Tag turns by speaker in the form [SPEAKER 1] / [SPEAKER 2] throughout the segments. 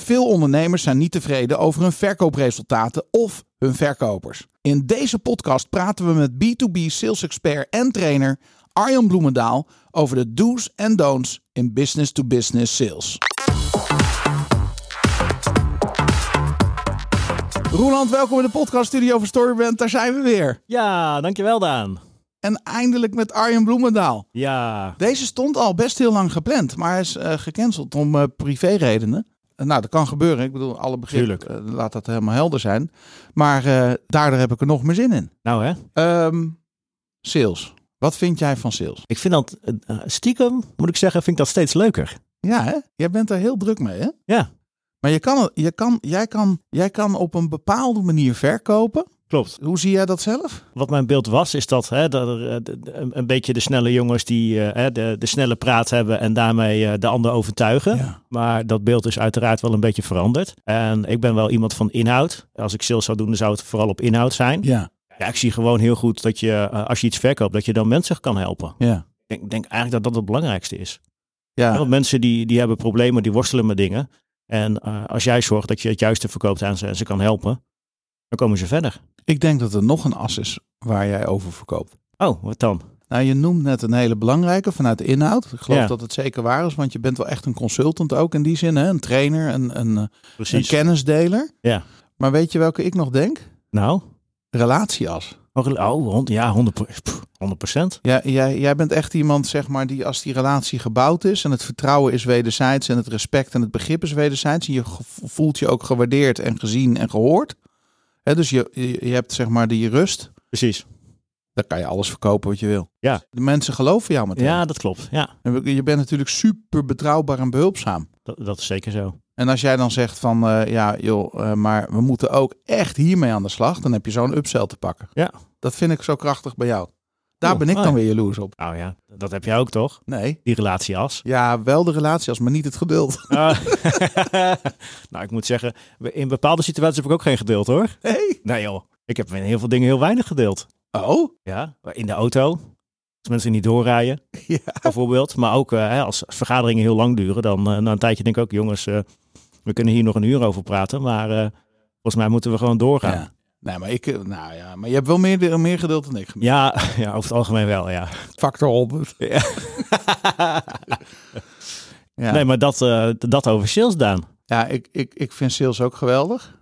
[SPEAKER 1] Veel ondernemers zijn niet tevreden over hun verkoopresultaten of hun verkopers. In deze podcast praten we met B2B sales expert en trainer Arjan Bloemendaal over de do's en don'ts in business-to-business sales. Roland, welkom in de podcast studio van Storyband. Daar zijn we weer.
[SPEAKER 2] Ja, dankjewel Daan.
[SPEAKER 1] En eindelijk met Arjen Bloemendaal.
[SPEAKER 2] Ja,
[SPEAKER 1] Deze stond al best heel lang gepland, maar hij is eh, gecanceld om eh, privéredenen. Eh, nou, dat kan gebeuren. Ik bedoel, alle begrip,
[SPEAKER 2] Tuurlijk.
[SPEAKER 1] eh, laat dat helemaal helder zijn. Maar eh, daardoor heb ik er nog meer zin in.
[SPEAKER 2] nou hè.
[SPEAKER 1] Ehm, sales. Wat vind jij van sales?
[SPEAKER 2] Ik vind dat eh, stiekem, moet ik zeggen, vind ik dat steeds leuker.
[SPEAKER 1] Ja, hè? Jij bent er heel druk mee, hè?
[SPEAKER 2] Ja.
[SPEAKER 1] Maar je kan, je kan, jij, kan, jij kan op een bepaalde manier verkopen.
[SPEAKER 2] Klopt.
[SPEAKER 1] Hoe zie jij dat zelf?
[SPEAKER 2] Wat mijn beeld was, is dat, hè, dat er, eh, de- de- een een beetje de snelle jongens die eh, hè, de, de snelle praat hebben en daarmee eh, de ander overtuigen.
[SPEAKER 1] Ja.
[SPEAKER 2] Maar dat beeld is uiteraard wel een beetje veranderd. En ik ben wel iemand van inhoud. Als ik sales zou doen, dan zou het vooral op inhoud zijn.
[SPEAKER 1] Ja.
[SPEAKER 2] Ja, ik zie gewoon heel goed dat je, eh, als je iets verkoopt, dat je dan mensen kan helpen.
[SPEAKER 1] Ja.
[SPEAKER 2] Ik denk, denk eigenlijk dat dat het belangrijkste is. Ja,
[SPEAKER 1] Ja.
[SPEAKER 2] Want mensen die, die hebben problemen, die worstelen met dingen. En eh, als jij zorgt dat je het juiste verkoopt aan ze en ze kan helpen, dan komen ze verder.
[SPEAKER 1] Ik denk dat er nog een as is waar jij over verkoopt.
[SPEAKER 2] Oh, wat dan?
[SPEAKER 1] Nou, je noemt net een hele belangrijke vanuit de inhoud. Ik geloof
[SPEAKER 2] Ja.
[SPEAKER 1] dat het zeker waar is, want je bent wel echt een consultant ook in die zin. Hè? Een trainer, een, een, eh, een
[SPEAKER 2] Precies.
[SPEAKER 1] kennisdeler.
[SPEAKER 2] Ja.
[SPEAKER 1] Maar weet je welke ik nog denk?
[SPEAKER 2] nou,
[SPEAKER 1] Relatieas.
[SPEAKER 2] oh, oh, hond- ja, 100 pff, 100 procent.
[SPEAKER 1] Jij, jij, jij bent echt iemand, zeg maar, die als die relatie gebouwd is en het vertrouwen is wederzijds en het respect en het begrip is wederzijds. En je ge- voelt je ook gewaardeerd en gezien en gehoord. Hè, dus je, je je hebt zeg maar die rust.
[SPEAKER 2] Precies.
[SPEAKER 1] Dan kan je alles verkopen wat je wil.
[SPEAKER 2] Ja.
[SPEAKER 1] De mensen geloven jou meteen.
[SPEAKER 2] Ja, dat klopt. Ja,
[SPEAKER 1] En Je bent natuurlijk super betrouwbaar en behulpzaam.
[SPEAKER 2] dat, dat is zeker zo.
[SPEAKER 1] En als jij dan zegt van, eh, ja joh, eh, maar we moeten ook echt hiermee aan de slag, dan heb je zo'n upsell te pakken.
[SPEAKER 2] Ja.
[SPEAKER 1] Dat vind ik zo krachtig bij jou. Daar
[SPEAKER 2] Oh,
[SPEAKER 1] ben ik
[SPEAKER 2] mooi.
[SPEAKER 1] dan weer jaloers op.
[SPEAKER 2] Nou ja, dat heb jij ook toch?
[SPEAKER 1] Nee.
[SPEAKER 2] Die relatieas.
[SPEAKER 1] Ja, wel de relatie als, maar niet het geduld.
[SPEAKER 2] Ah. nou, ik moet zeggen, in bepaalde situaties heb ik ook geen geduld hoor.
[SPEAKER 1] Nee.
[SPEAKER 2] Nee joh, ik heb in heel veel dingen heel weinig geduld.
[SPEAKER 1] Oh,
[SPEAKER 2] Ja, in de auto. Als mensen niet doorrijden,
[SPEAKER 1] Ja.
[SPEAKER 2] bijvoorbeeld. Maar ook eh, hè, als vergaderingen heel lang duren, dan eh, na een tijdje denk ik ook, jongens, eh, we kunnen hier nog een uur over praten. Maar eh, volgens mij moeten we gewoon doorgaan. Ja.
[SPEAKER 1] ja. Nee, maar ik, eh, nou ja, maar je hebt wel meer, meer geduld dan ik.
[SPEAKER 2] Ja, over het algemeen wel, ja.
[SPEAKER 1] Factor 100.
[SPEAKER 2] Ja.
[SPEAKER 1] Ja,
[SPEAKER 2] Nee, maar dat, eh, dat over sales, Daan.
[SPEAKER 1] ja ik, ik, ik vind sales ook geweldig.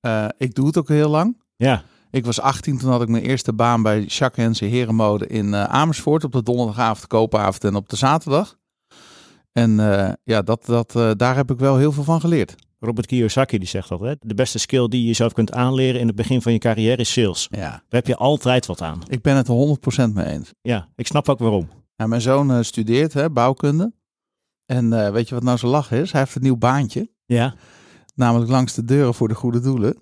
[SPEAKER 1] Eh, ik doe het ook heel lang.
[SPEAKER 2] Ja,
[SPEAKER 1] Ik was 18, toen had ik mijn eerste baan bij Jacques Hensen Herenmode in eh, Amersfoort. Op de donderdagavond, koopavond en op de zaterdag. En eh, ja, dat, dat, eh, daar heb ik wel heel veel van geleerd.
[SPEAKER 2] Robert Kiyosaki die zegt dat. Hè? De beste skill die je jezelf kunt aanleren in het begin van je carrière is sales.
[SPEAKER 1] Ja.
[SPEAKER 2] Daar heb je altijd wat aan.
[SPEAKER 1] Ik ben het er 100% mee eens.
[SPEAKER 2] Ja, ik snap ook waarom.
[SPEAKER 1] Ja, mijn zoon eh, studeert hè, bouwkunde. En eh, weet je wat nou zo lach is? Hij heeft een nieuw baantje.
[SPEAKER 2] Ja.
[SPEAKER 1] Namelijk langs de deuren voor de goede doelen.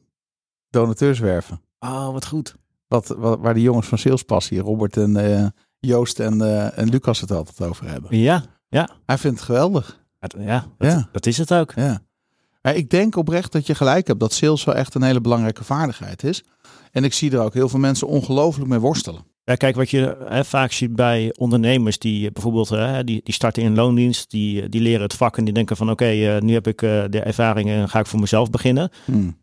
[SPEAKER 1] Donateurs werven.
[SPEAKER 2] Oh, wat goed.
[SPEAKER 1] Wat, wat, waar de jongens van Salespassie, Robert en eh, Joost en, eh, en Lucas het altijd over hebben.
[SPEAKER 2] Ja,
[SPEAKER 1] Hij vindt het geweldig.
[SPEAKER 2] het- ja, dat,
[SPEAKER 1] Ja.
[SPEAKER 2] dat is het ook.
[SPEAKER 1] Ja. Maar ik denk oprecht dat je gelijk hebt dat sales wel echt een hele belangrijke vaardigheid is. En ik zie er ook heel veel mensen ongelooflijk mee worstelen.
[SPEAKER 2] Ja, kijk, wat je hè, vaak ziet bij ondernemers die eh, bijvoorbeeld hè, die, die starten in loondienst, die, eh, die leren het vak en die denken van oké, eh, nu heb ik eh, de ervaring en ga ik voor mezelf beginnen.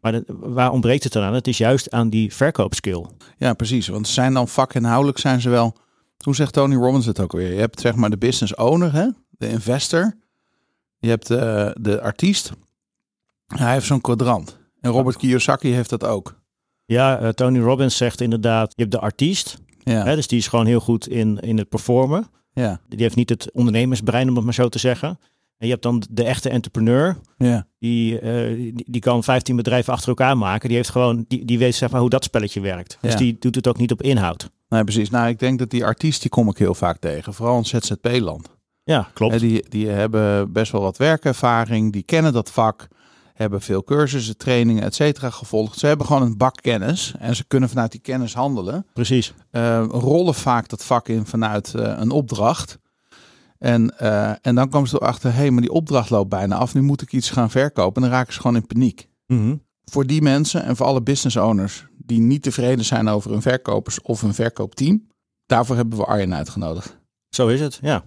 [SPEAKER 2] Maar de- waar ontbreekt het dan aan? Het is juist aan die verkoopskill.
[SPEAKER 1] Ja, precies. Want ze zijn dan vakinhoudelijk zijn ze wel. Hoe zegt Tony Robbins het ook weer? Je hebt zeg maar de business owner, hè? de investor. Je hebt eh, de artiest. Hij heeft zo'n kwadrant. En Robert Kiyosaki heeft dat ook.
[SPEAKER 2] Ja, eh, Tony Robbins zegt inderdaad, je hebt de artiest,
[SPEAKER 1] Ja,
[SPEAKER 2] hè, dus die is gewoon heel goed in, in het performen.
[SPEAKER 1] ja,
[SPEAKER 2] Die heeft niet het ondernemersbrein, om het maar zo te zeggen. En je hebt dan de echte entrepreneur,
[SPEAKER 1] ja.
[SPEAKER 2] die, eh, die, die kan 15 bedrijven achter elkaar maken. Die, heeft gewoon, die, die weet zeg maar hoe dat spelletje werkt. Dus
[SPEAKER 1] Ja.
[SPEAKER 2] die doet het ook niet op inhoud.
[SPEAKER 1] Nee, precies. Nou, ik denk dat die artiest, die kom ik heel vaak tegen. Vooral in ZZP-land.
[SPEAKER 2] Ja, klopt.
[SPEAKER 1] Hè, die, die hebben best wel wat werkervaring, die kennen dat vak, hebben veel cursussen, trainingen, et cetera gevolgd. Ze hebben gewoon een bak kennis en ze kunnen vanuit die kennis handelen.
[SPEAKER 2] Precies.
[SPEAKER 1] Eh, rollen vaak dat vak in vanuit eh, een opdracht. En, eh, en dan komen ze erachter, hé, hey, maar die opdracht loopt bijna af, nu moet ik iets gaan verkopen. En dan raken ze gewoon in paniek. Voor die mensen en voor alle business owners die niet tevreden zijn over hun verkopers of hun verkoopteam, daarvoor hebben we Arjen uitgenodigd.
[SPEAKER 2] Zo is het, ja.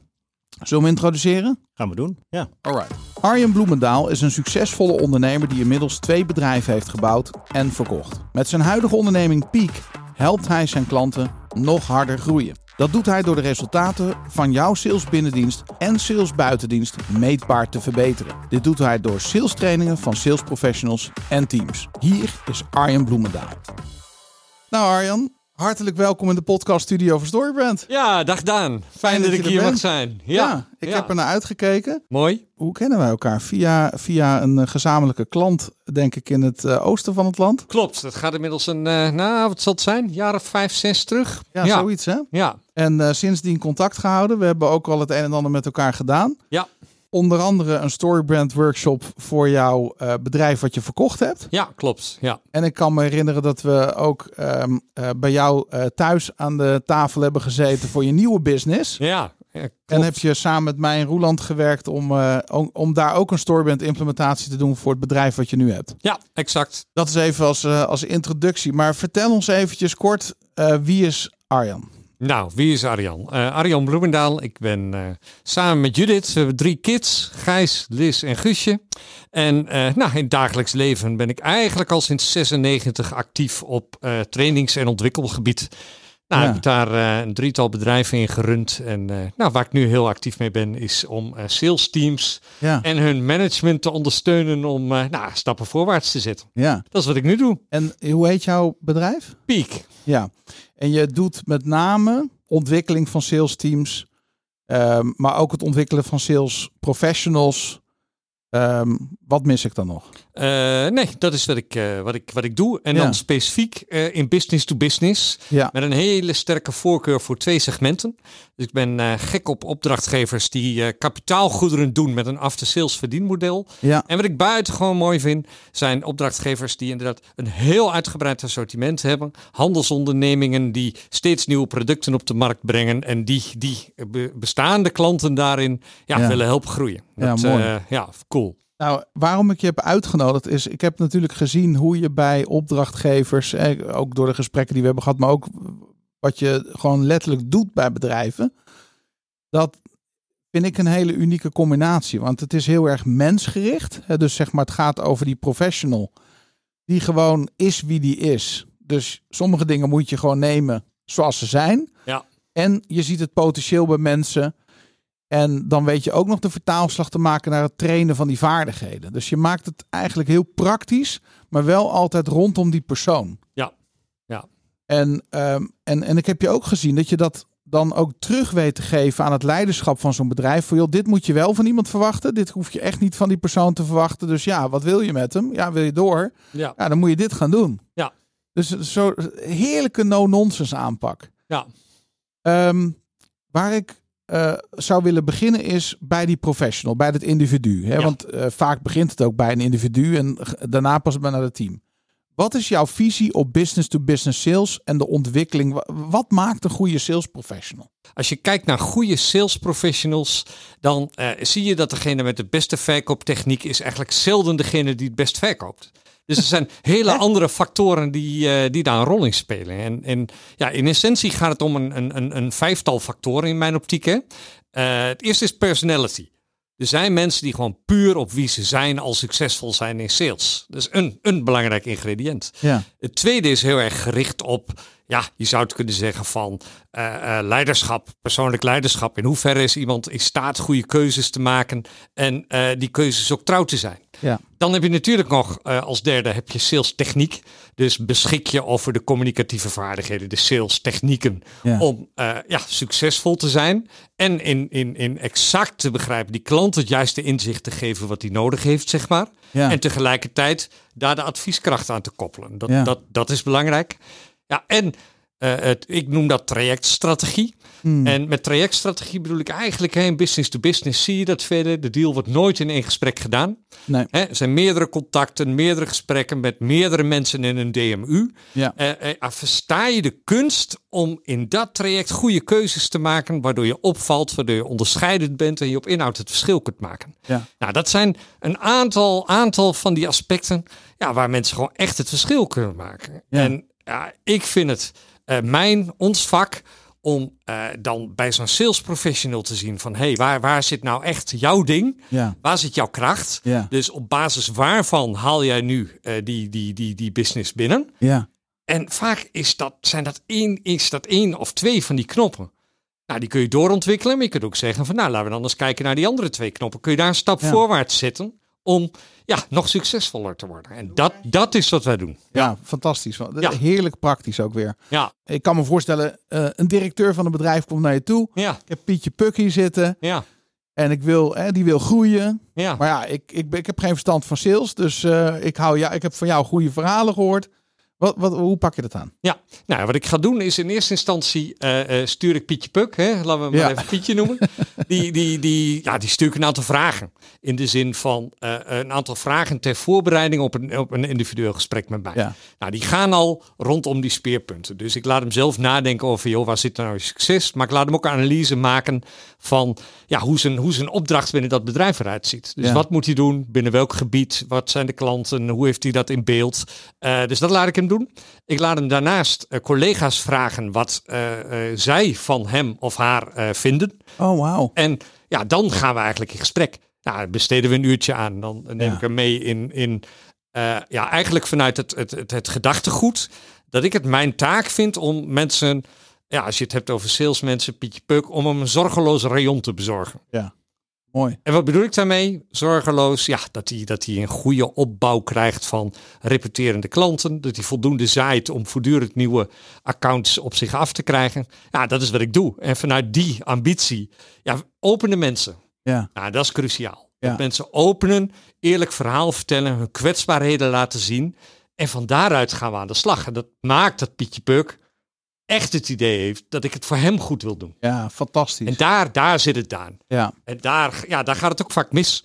[SPEAKER 1] Zullen we hem introduceren?
[SPEAKER 2] Gaan we doen. Ja.
[SPEAKER 1] Alright. Arjen Bloemendaal is een succesvolle ondernemer die inmiddels twee bedrijven heeft gebouwd en verkocht. Met zijn huidige onderneming Peak helpt hij zijn klanten nog harder groeien. Dat doet hij door de resultaten van jouw sales binnendienst en sales buitendienst meetbaar te verbeteren. Dit doet hij door sales trainingen van sales professionals en teams. Hier is Arjen Bloemendaal. Nou Arjan, hartelijk welkom in de podcast studio van Storybrand.
[SPEAKER 3] Ja, dag Daan. Fijn, dat,
[SPEAKER 1] dat je
[SPEAKER 3] ik
[SPEAKER 1] er
[SPEAKER 3] hier mag
[SPEAKER 1] bent.
[SPEAKER 3] zijn. Ja,
[SPEAKER 1] Ja, ik
[SPEAKER 3] ja.
[SPEAKER 1] heb er naar uitgekeken.
[SPEAKER 3] Mooi.
[SPEAKER 1] Hoe kennen wij elkaar? Via, via een eh, gezamenlijke klant, denk ik, in het eh, oosten van het land.
[SPEAKER 3] Klopt, dat gaat inmiddels een, eh nou wat zal het zijn, jaar of vijf, zes terug.
[SPEAKER 1] Ja,
[SPEAKER 3] ja.
[SPEAKER 1] zoiets hè.
[SPEAKER 3] Ja.
[SPEAKER 1] En eh, sindsdien contact gehouden. We hebben ook al het een en ander met elkaar gedaan.
[SPEAKER 3] Ja.
[SPEAKER 1] Onder andere een storybrand workshop voor jouw eh, bedrijf wat je verkocht hebt.
[SPEAKER 3] ja, klopt. Ja.
[SPEAKER 1] En ik kan me herinneren dat we ook ehm, eh, bij jou eh, thuis aan de tafel hebben gezeten voor je nieuwe business.
[SPEAKER 3] Ja, ja, klopt.
[SPEAKER 1] En eh, heb je samen met mij en Roeland gewerkt om, eh, om, om daar ook een storybrand implementatie te doen voor het bedrijf wat je nu hebt.
[SPEAKER 3] ja exact.
[SPEAKER 1] Dat is even als, eh, als introductie. Maar vertel ons eventjes kort, eh, wie is Arjan?
[SPEAKER 3] Nou, wie is Arjan? Eh, Arjan Bloemendaal. Ik ben eh, samen met Judith. We hebben drie kids. Gijs, Lis en Guusje. En eh, nou, in het dagelijks leven ben ik eigenlijk al sinds 96 actief op eh, trainings- en ontwikkelgebied. Nou,
[SPEAKER 1] Ja.
[SPEAKER 3] heb ik daar eh, een drietal bedrijven in gerund. En eh, nou, waar ik nu heel actief mee ben, is om eh sales teams
[SPEAKER 1] Ja,
[SPEAKER 3] en hun management te ondersteunen om eh, nou, stappen voorwaarts te zetten.
[SPEAKER 1] ja.
[SPEAKER 3] Dat is wat ik nu doe.
[SPEAKER 1] En hoe heet jouw bedrijf?
[SPEAKER 3] Piek.
[SPEAKER 1] Ja, en je doet met name ontwikkeling van sales teams, ehm, maar ook het ontwikkelen van sales professionals. Ehm, wat mis ik dan nog?
[SPEAKER 3] Eh, nee, dat is wat ik, eh, wat ik, wat ik doe. En
[SPEAKER 1] Ja.
[SPEAKER 3] dan specifiek eh, in business to business.
[SPEAKER 1] Ja,
[SPEAKER 3] Met een hele sterke voorkeur voor twee segmenten. Dus ik ben eh, gek op opdrachtgevers die eh, kapitaalgoederen doen met een after-sales verdienmodel.
[SPEAKER 1] ja,
[SPEAKER 3] En wat ik buitengewoon mooi vind, zijn opdrachtgevers die inderdaad een heel uitgebreid assortiment hebben. Handelsondernemingen die steeds nieuwe producten op de markt brengen. En die, die eh, be- bestaande klanten daarin ja,
[SPEAKER 1] Ja.
[SPEAKER 3] willen helpen groeien.
[SPEAKER 1] Ja,
[SPEAKER 3] Dat,
[SPEAKER 1] mooi.
[SPEAKER 3] eh, ja, cool.
[SPEAKER 1] nou waarom ik je heb uitgenodigd is, ik heb natuurlijk gezien hoe je bij opdrachtgevers, eh, ook door de gesprekken die we hebben gehad, maar ook wat je gewoon letterlijk doet bij bedrijven. Dat vind ik een hele unieke combinatie, want het is heel erg mensgericht. Hè, dus zeg maar, het gaat over die professional die gewoon is wie die is. Dus sommige dingen moet je gewoon nemen zoals ze zijn.
[SPEAKER 3] Ja.
[SPEAKER 1] En je ziet het potentieel bij mensen. En dan weet je ook nog de vertaalslag te maken naar het trainen van die vaardigheden. Dus je maakt het eigenlijk heel praktisch, maar wel altijd rondom die persoon.
[SPEAKER 3] Ja. Ja.
[SPEAKER 1] En, ehm, en, en ik heb je ook gezien dat je dat dan ook terug weet te geven aan het leiderschap van zo'n bedrijf. Voor joh, dit moet je wel van iemand verwachten. Dit hoef je echt niet van die persoon te verwachten. Dus ja, wat wil je met hem? Ja, wil je door?
[SPEAKER 3] Ja.
[SPEAKER 1] Ja, dan moet je dit gaan doen.
[SPEAKER 3] Ja.
[SPEAKER 1] Dus zo heerlijke no-nonsense aanpak.
[SPEAKER 3] Ja.
[SPEAKER 1] Ehm, waar ik eh, zou willen beginnen is bij die professional, bij het individu. Hè?
[SPEAKER 3] Ja.
[SPEAKER 1] Want eh, vaak begint het ook bij een individu en g- daarna pas het maar naar het team. Wat is jouw visie op business-to-business sales en de ontwikkeling? Wa- Wat maakt een goede sales professional?
[SPEAKER 3] Als je kijkt naar goede sales professionals, dan eh, zie je dat degene met de beste verkooptechniek is eigenlijk zelden degene die het best verkoopt. Dus er zijn hele andere factoren die, eh, die daar een rol in spelen. En, en ja, in essentie gaat het om een, een, een, een vijftal factoren in mijn optiek. Hè? Eh, het eerste is personality. Er zijn mensen die gewoon puur op wie ze zijn al succesvol zijn in sales. Dat is een, een belangrijk ingrediënt.
[SPEAKER 1] Ja,
[SPEAKER 3] Het tweede is heel erg gericht op, ja, je zou het kunnen zeggen van eh, eh, leiderschap, persoonlijk leiderschap. In hoeverre is iemand in staat goede keuzes te maken en eh, die keuzes ook trouw te zijn.
[SPEAKER 1] ja,
[SPEAKER 3] Dan heb je natuurlijk nog eh, als derde heb je sales techniek. Dus beschik je over de communicatieve vaardigheden, de sales technieken.
[SPEAKER 1] Ja.
[SPEAKER 3] Om eh, ja, succesvol te zijn. En in, in, in exact te begrijpen, die klant het juiste inzicht te geven wat hij nodig heeft, zeg maar.
[SPEAKER 1] Ja.
[SPEAKER 3] En tegelijkertijd daar de advieskracht aan te koppelen. Dat,
[SPEAKER 1] Ja.
[SPEAKER 3] dat, dat is belangrijk. Ja, en eh, het, ik noem dat trajectstrategie.
[SPEAKER 1] Hmm.
[SPEAKER 3] En met trajectstrategie bedoel ik eigenlijk, hè, in business to business zie je dat verder. De deal wordt nooit in één gesprek gedaan.
[SPEAKER 1] nee,
[SPEAKER 3] Hè, er zijn meerdere contacten, meerdere gesprekken met meerdere mensen in een DMU.
[SPEAKER 1] ja,
[SPEAKER 3] Eh, eh, versta je de kunst om in dat traject goede keuzes te maken, waardoor je opvalt, waardoor je onderscheidend bent en je op inhoud het verschil kunt maken.
[SPEAKER 1] ja.
[SPEAKER 3] Nou, dat zijn een aantal, aantal van die aspecten ja, waar mensen gewoon echt het verschil kunnen maken.
[SPEAKER 1] Ja.
[SPEAKER 3] En ja, ik vind het eh, mijn, ons vak, om eh, dan bij zo'n sales professional te zien van... hé, hey, waar, waar zit nou echt jouw ding?
[SPEAKER 1] Ja.
[SPEAKER 3] Waar zit jouw kracht?
[SPEAKER 1] Ja.
[SPEAKER 3] Dus op basis waarvan haal jij nu eh, die, die, die, die business binnen?
[SPEAKER 1] Ja.
[SPEAKER 3] En vaak is dat, zijn dat één, is dat één of twee van die knoppen. Nou, die kun je doorontwikkelen, maar je kunt ook zeggen van... nou, laten we dan eens kijken naar die andere twee knoppen. Kun je daar een stap
[SPEAKER 1] Ja.
[SPEAKER 3] voorwaarts zetten om ja, nog succesvoller te worden? En dat, dat is wat wij doen.
[SPEAKER 1] Ja, fantastisch.
[SPEAKER 3] Ja.
[SPEAKER 1] Heerlijk praktisch ook weer.
[SPEAKER 3] Ja,
[SPEAKER 1] Ik kan me voorstellen, eh, een directeur van een bedrijf komt naar je toe.
[SPEAKER 3] ja,
[SPEAKER 1] Ik heb Pietje Puk hier zitten
[SPEAKER 3] ja,
[SPEAKER 1] en ik wil, hè, die wil groeien.
[SPEAKER 3] ja.
[SPEAKER 1] Maar ja, ik, ik, ben- ik heb geen verstand van sales, dus eh, ik, hou, ja, ik heb van jou goede verhalen gehoord. Wat, wat, hoe pak je dat aan?
[SPEAKER 3] Ja, nou, wat ik ga doen is in eerste instantie eh, eh, stuur ik Pietje Puk, hè? laten we hem maar
[SPEAKER 1] Ja.
[SPEAKER 3] even Pietje noemen. Die, die, die, ja, die stuur ik een aantal vragen. In de zin van eh, een aantal vragen ter voorbereiding op een, op een individueel gesprek met mij.
[SPEAKER 1] Ja.
[SPEAKER 3] Nou, die gaan al rondom die speerpunten. Dus ik laat hem zelf nadenken over, joh, waar zit nou je succes? Maar ik laat hem ook een analyse maken van ja, hoe, zijn, hoe zijn opdracht binnen dat bedrijf eruit ziet. Dus
[SPEAKER 1] Ja.
[SPEAKER 3] wat moet hij doen? Binnen welk gebied? Wat zijn de klanten? Hoe heeft hij dat in beeld? Eh, dus dat laat ik hem doen. Ik laat hem daarnaast eh, collega's vragen wat eh, eh, zij van hem of haar eh, vinden.
[SPEAKER 1] Oh, wauw.
[SPEAKER 3] En ja, dan gaan we eigenlijk in gesprek. Nou, daar besteden we een uurtje aan. Dan neem
[SPEAKER 1] Ja.
[SPEAKER 3] ik hem mee in, in eh, ja, eigenlijk vanuit het, het, het, het gedachtegoed. Dat ik het mijn taak vind om mensen, ja, als je het hebt over salesmensen, Pietje Puk, om hem een zorgeloos rayon te bezorgen.
[SPEAKER 1] Mooi.
[SPEAKER 3] En wat bedoel ik daarmee? Zorgeloos, ja, dat hij dat hij een goede opbouw krijgt van repeterende klanten. Dat hij voldoende zaait om voortdurend nieuwe accounts op zich af te krijgen. Ja, dat is wat ik doe. En vanuit die ambitie, ja, openen mensen.
[SPEAKER 1] Ja.
[SPEAKER 3] Nou, dat is cruciaal.
[SPEAKER 1] Ja.
[SPEAKER 3] Dat mensen openen, eerlijk verhaal vertellen, hun kwetsbaarheden laten zien. En van daaruit gaan we aan de slag. En dat maakt dat Pietje Puk echt het idee heeft dat ik het voor hem goed wil doen.
[SPEAKER 1] Ja,
[SPEAKER 3] En
[SPEAKER 1] fantastisch.
[SPEAKER 3] daar, daar zit het aan.
[SPEAKER 1] Ja,
[SPEAKER 3] En daar, ja, daar gaat het ook vaak mis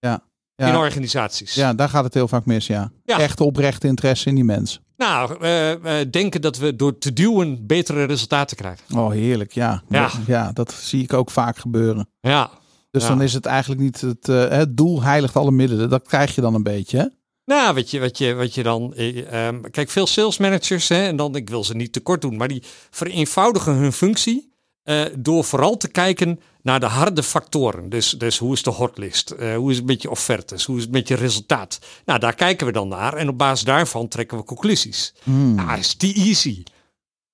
[SPEAKER 3] in
[SPEAKER 1] ja,
[SPEAKER 3] organisaties.
[SPEAKER 1] ja, daar gaat het heel vaak mis, ja.
[SPEAKER 3] Ja.
[SPEAKER 1] Echt oprechte interesse in die mens.
[SPEAKER 3] Nou, eh, eh, denken dat we door te duwen betere resultaten krijgen.
[SPEAKER 1] Oh, heerlijk, ja.
[SPEAKER 3] Ja.
[SPEAKER 1] ja dat zie ik ook vaak gebeuren.
[SPEAKER 3] Ja.
[SPEAKER 1] Dus
[SPEAKER 3] Ja.
[SPEAKER 1] dan is het eigenlijk niet het, eh, het doel heiligt alle middelen. Dat krijg je dan een beetje. Hè?
[SPEAKER 3] Nou, wat je, wat je, wat je dan. eh, ehm, kijk, veel sales managers, hè, en dan, ik wil ze niet tekort doen, maar die vereenvoudigen hun functie. eh, door vooral te kijken naar de harde factoren. Dus, dus hoe is de hotlist? Eh, hoe is het met je offertes? Hoe is het met je resultaat? Nou, daar kijken we dan naar. En op basis daarvan trekken we conclusies.
[SPEAKER 1] Hmm.
[SPEAKER 3] Ja, is die easy.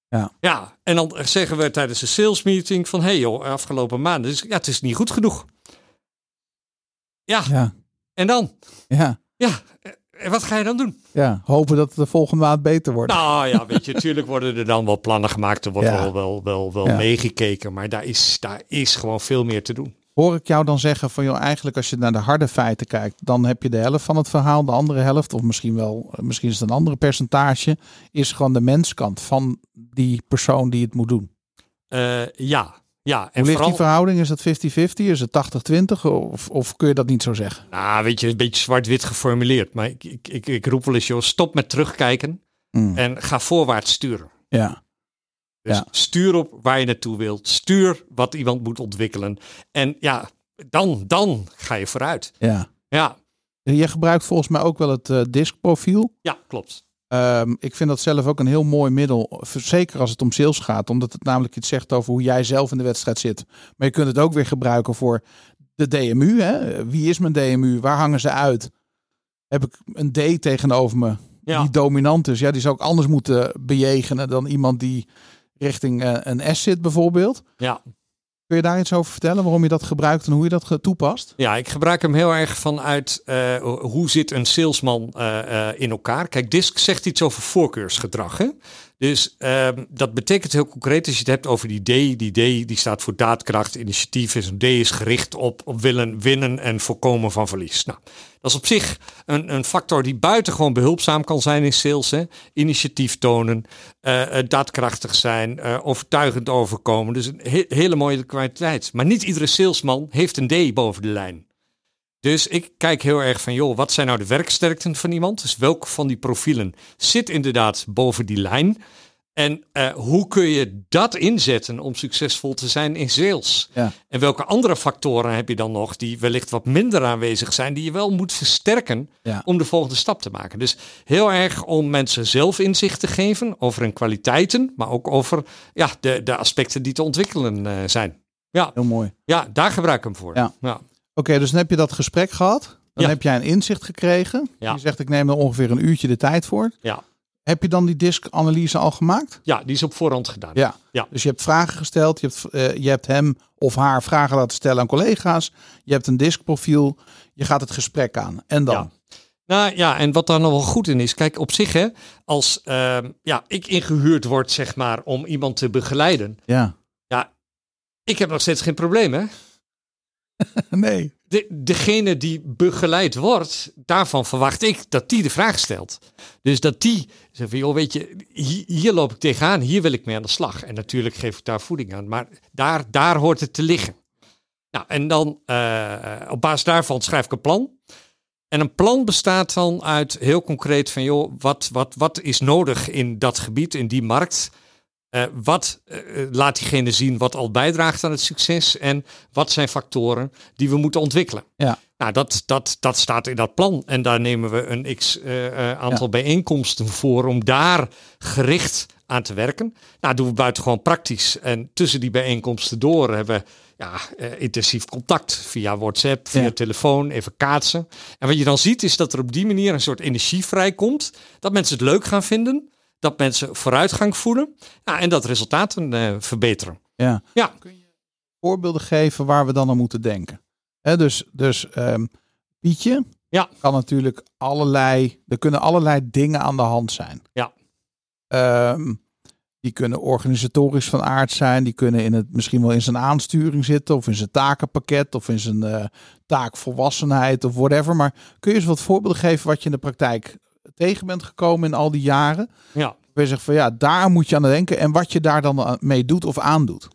[SPEAKER 1] Ja.
[SPEAKER 3] ja, en dan zeggen we tijdens de sales meeting van... hé hey joh, afgelopen maand, dus, ja, het is niet goed genoeg. Ja,
[SPEAKER 1] Ja,
[SPEAKER 3] en dan?
[SPEAKER 1] ja,
[SPEAKER 3] Ja, en wat ga je dan doen?
[SPEAKER 1] ja. Hopen dat het de volgende maand beter wordt.
[SPEAKER 3] Nou ja, weet je, natuurlijk worden er dan wel plannen gemaakt. Er wordt
[SPEAKER 1] Ja.
[SPEAKER 3] wel, wel, wel, wel
[SPEAKER 1] Ja.
[SPEAKER 3] meegekeken. Maar daar is, daar is gewoon veel meer te doen.
[SPEAKER 1] Hoor ik jou dan zeggen van joh, eigenlijk als je naar de harde feiten kijkt, dan heb je de helft van het verhaal, de andere helft, of misschien wel, eh, misschien is het een andere percentage, is gewoon de menskant van die persoon die het moet doen.
[SPEAKER 3] Eh, ja, ja. En
[SPEAKER 1] Hoe ligt
[SPEAKER 3] vooral,
[SPEAKER 1] die verhouding? Is dat 50-50? Is het 80-20? Of, of kun je dat niet zo zeggen?
[SPEAKER 3] nou, weet je, een beetje zwart-wit geformuleerd. Maar ik, ik, ik, ik roep wel eens, joh, stop met terugkijken.
[SPEAKER 1] Mm.
[SPEAKER 3] En ga voorwaarts sturen.
[SPEAKER 1] Ja,
[SPEAKER 3] Dus
[SPEAKER 1] Ja.
[SPEAKER 3] stuur op waar je naartoe wilt. Stuur wat iemand moet ontwikkelen. En ja, dan, dan ga je vooruit.
[SPEAKER 1] ja.
[SPEAKER 3] Ja,
[SPEAKER 1] Je gebruikt volgens mij ook wel het eh diskprofiel.
[SPEAKER 3] ja klopt.
[SPEAKER 1] Ehm, ik vind dat zelf ook een heel mooi middel. Zeker als het om sales gaat. Omdat het namelijk iets zegt over hoe jij zelf in de wedstrijd zit. Maar je kunt het ook weer gebruiken voor de DMU. Hè? Wie is mijn DMU? Waar hangen ze uit? Heb ik een D tegenover me
[SPEAKER 3] Ja.
[SPEAKER 1] die dominant is? Ja, die zou ik anders moeten bejegenen dan iemand die richting eh, een S zit bijvoorbeeld.
[SPEAKER 3] Ja.
[SPEAKER 1] Kun je daar iets over vertellen? Waarom je dat gebruikt en hoe je dat ge- toepast?
[SPEAKER 3] ja, ik gebruik hem heel erg vanuit eh, hoe zit een salesman eh, eh, in elkaar. Kijk, DISC zegt iets over voorkeursgedrag. Hè? Dus ehm, dat betekent heel concreet als je het hebt over die D. Die D die staat voor daadkracht, initiatief. En zo'n D is gericht op, op willen winnen en voorkomen van verlies. Nou, dat is op zich een, een factor die buitengewoon behulpzaam kan zijn in sales. Hè? Initiatief tonen, eh, eh, daadkrachtig zijn, eh, overtuigend overkomen. Dus een he- hele mooie kwaliteit. Maar niet iedere salesman heeft een D boven de lijn. Dus ik kijk heel erg van, joh, wat zijn nou de werksterkten van iemand? Dus welke van die profielen zit inderdaad boven die lijn? En eh, hoe kun je dat inzetten om succesvol te zijn in sales?
[SPEAKER 1] Ja.
[SPEAKER 3] En welke andere factoren heb je dan nog die wellicht wat minder aanwezig zijn, die je wel moet versterken
[SPEAKER 1] Ja.
[SPEAKER 3] om de volgende stap te maken? Dus heel erg om mensen zelf inzicht te geven over hun kwaliteiten, maar ook over ja, de, de aspecten die te ontwikkelen eh, zijn. Ja,
[SPEAKER 1] Heel mooi. Oké,
[SPEAKER 3] ja, daar gebruik ik hem voor.
[SPEAKER 1] Ja.
[SPEAKER 3] Ja.
[SPEAKER 1] dus dan heb je dat gesprek gehad. Dan
[SPEAKER 3] Ja.
[SPEAKER 1] heb jij een inzicht gekregen.
[SPEAKER 3] Ja.
[SPEAKER 1] Je zegt, ik neem er ongeveer een uurtje de tijd voor.
[SPEAKER 3] Ja.
[SPEAKER 1] Heb je dan die disk-analyse al gemaakt?
[SPEAKER 3] Ja, die is op voorhand gedaan.
[SPEAKER 1] Ja.
[SPEAKER 3] Ja.
[SPEAKER 1] Dus je hebt vragen gesteld. Je hebt, eh, je hebt hem of haar vragen laten stellen aan collega's. Je hebt een diskprofiel. Je gaat het gesprek aan. En dan?
[SPEAKER 3] Ja. Nou ja, en wat daar nog wel goed in is, kijk op zich hè, als ehm, ja, ik ingehuurd word zeg maar om iemand te begeleiden,
[SPEAKER 1] Ja.
[SPEAKER 3] ik heb nog steeds geen probleem hè.
[SPEAKER 1] Nee.
[SPEAKER 3] De, degene die begeleid wordt, daarvan verwacht ik dat die de vraag stelt. Dus dat die zegt van, joh, weet je, hier, hier loop ik tegenaan, hier wil ik mee aan de slag. En natuurlijk geef ik daar voeding aan, maar daar, daar hoort het te liggen. Nou, en dan eh, op basis daarvan schrijf ik een plan. En een plan bestaat dan uit heel concreet van, joh, wat, wat, wat is nodig in dat gebied, in die markt? Eh, wat eh, eh, laat diegene zien wat al bijdraagt aan het succes? En wat zijn factoren die we moeten ontwikkelen?
[SPEAKER 1] Ja.
[SPEAKER 3] Nou, dat, dat, dat staat in dat plan. En daar nemen we een x eh, eh, aantal bijeenkomsten voor om daar gericht aan te werken. Nou, doen we buitengewoon praktisch. En tussen die bijeenkomsten door hebben we ja, eh, intensief contact via WhatsApp, via
[SPEAKER 1] Ja.
[SPEAKER 3] telefoon, even kaatsen. En wat je dan ziet is dat er op die manier een soort energie vrijkomt. Dat mensen het leuk gaan vinden. Dat mensen vooruitgang voelen. Ja, en dat resultaten eh, verbeteren.
[SPEAKER 1] Ja.
[SPEAKER 3] Ja.
[SPEAKER 1] voorbeelden geven waar we dan aan moeten denken. Hè, dus dus ehm, Pietje
[SPEAKER 3] Ja.
[SPEAKER 1] kan natuurlijk allerlei, er kunnen allerlei dingen aan de hand zijn.
[SPEAKER 3] Ja.
[SPEAKER 1] Ehm, die kunnen organisatorisch van aard zijn, die kunnen in het, misschien wel in zijn aansturing zitten, of in zijn takenpakket, of in zijn eh, taakvolwassenheid, of whatever. Maar kun je eens wat voorbeelden geven wat je in de praktijk tegen bent gekomen in al die jaren?
[SPEAKER 3] Ja.
[SPEAKER 1] Waar je zegt van ja, daar moet je aan denken en wat je daar dan aan- mee doet of aandoet.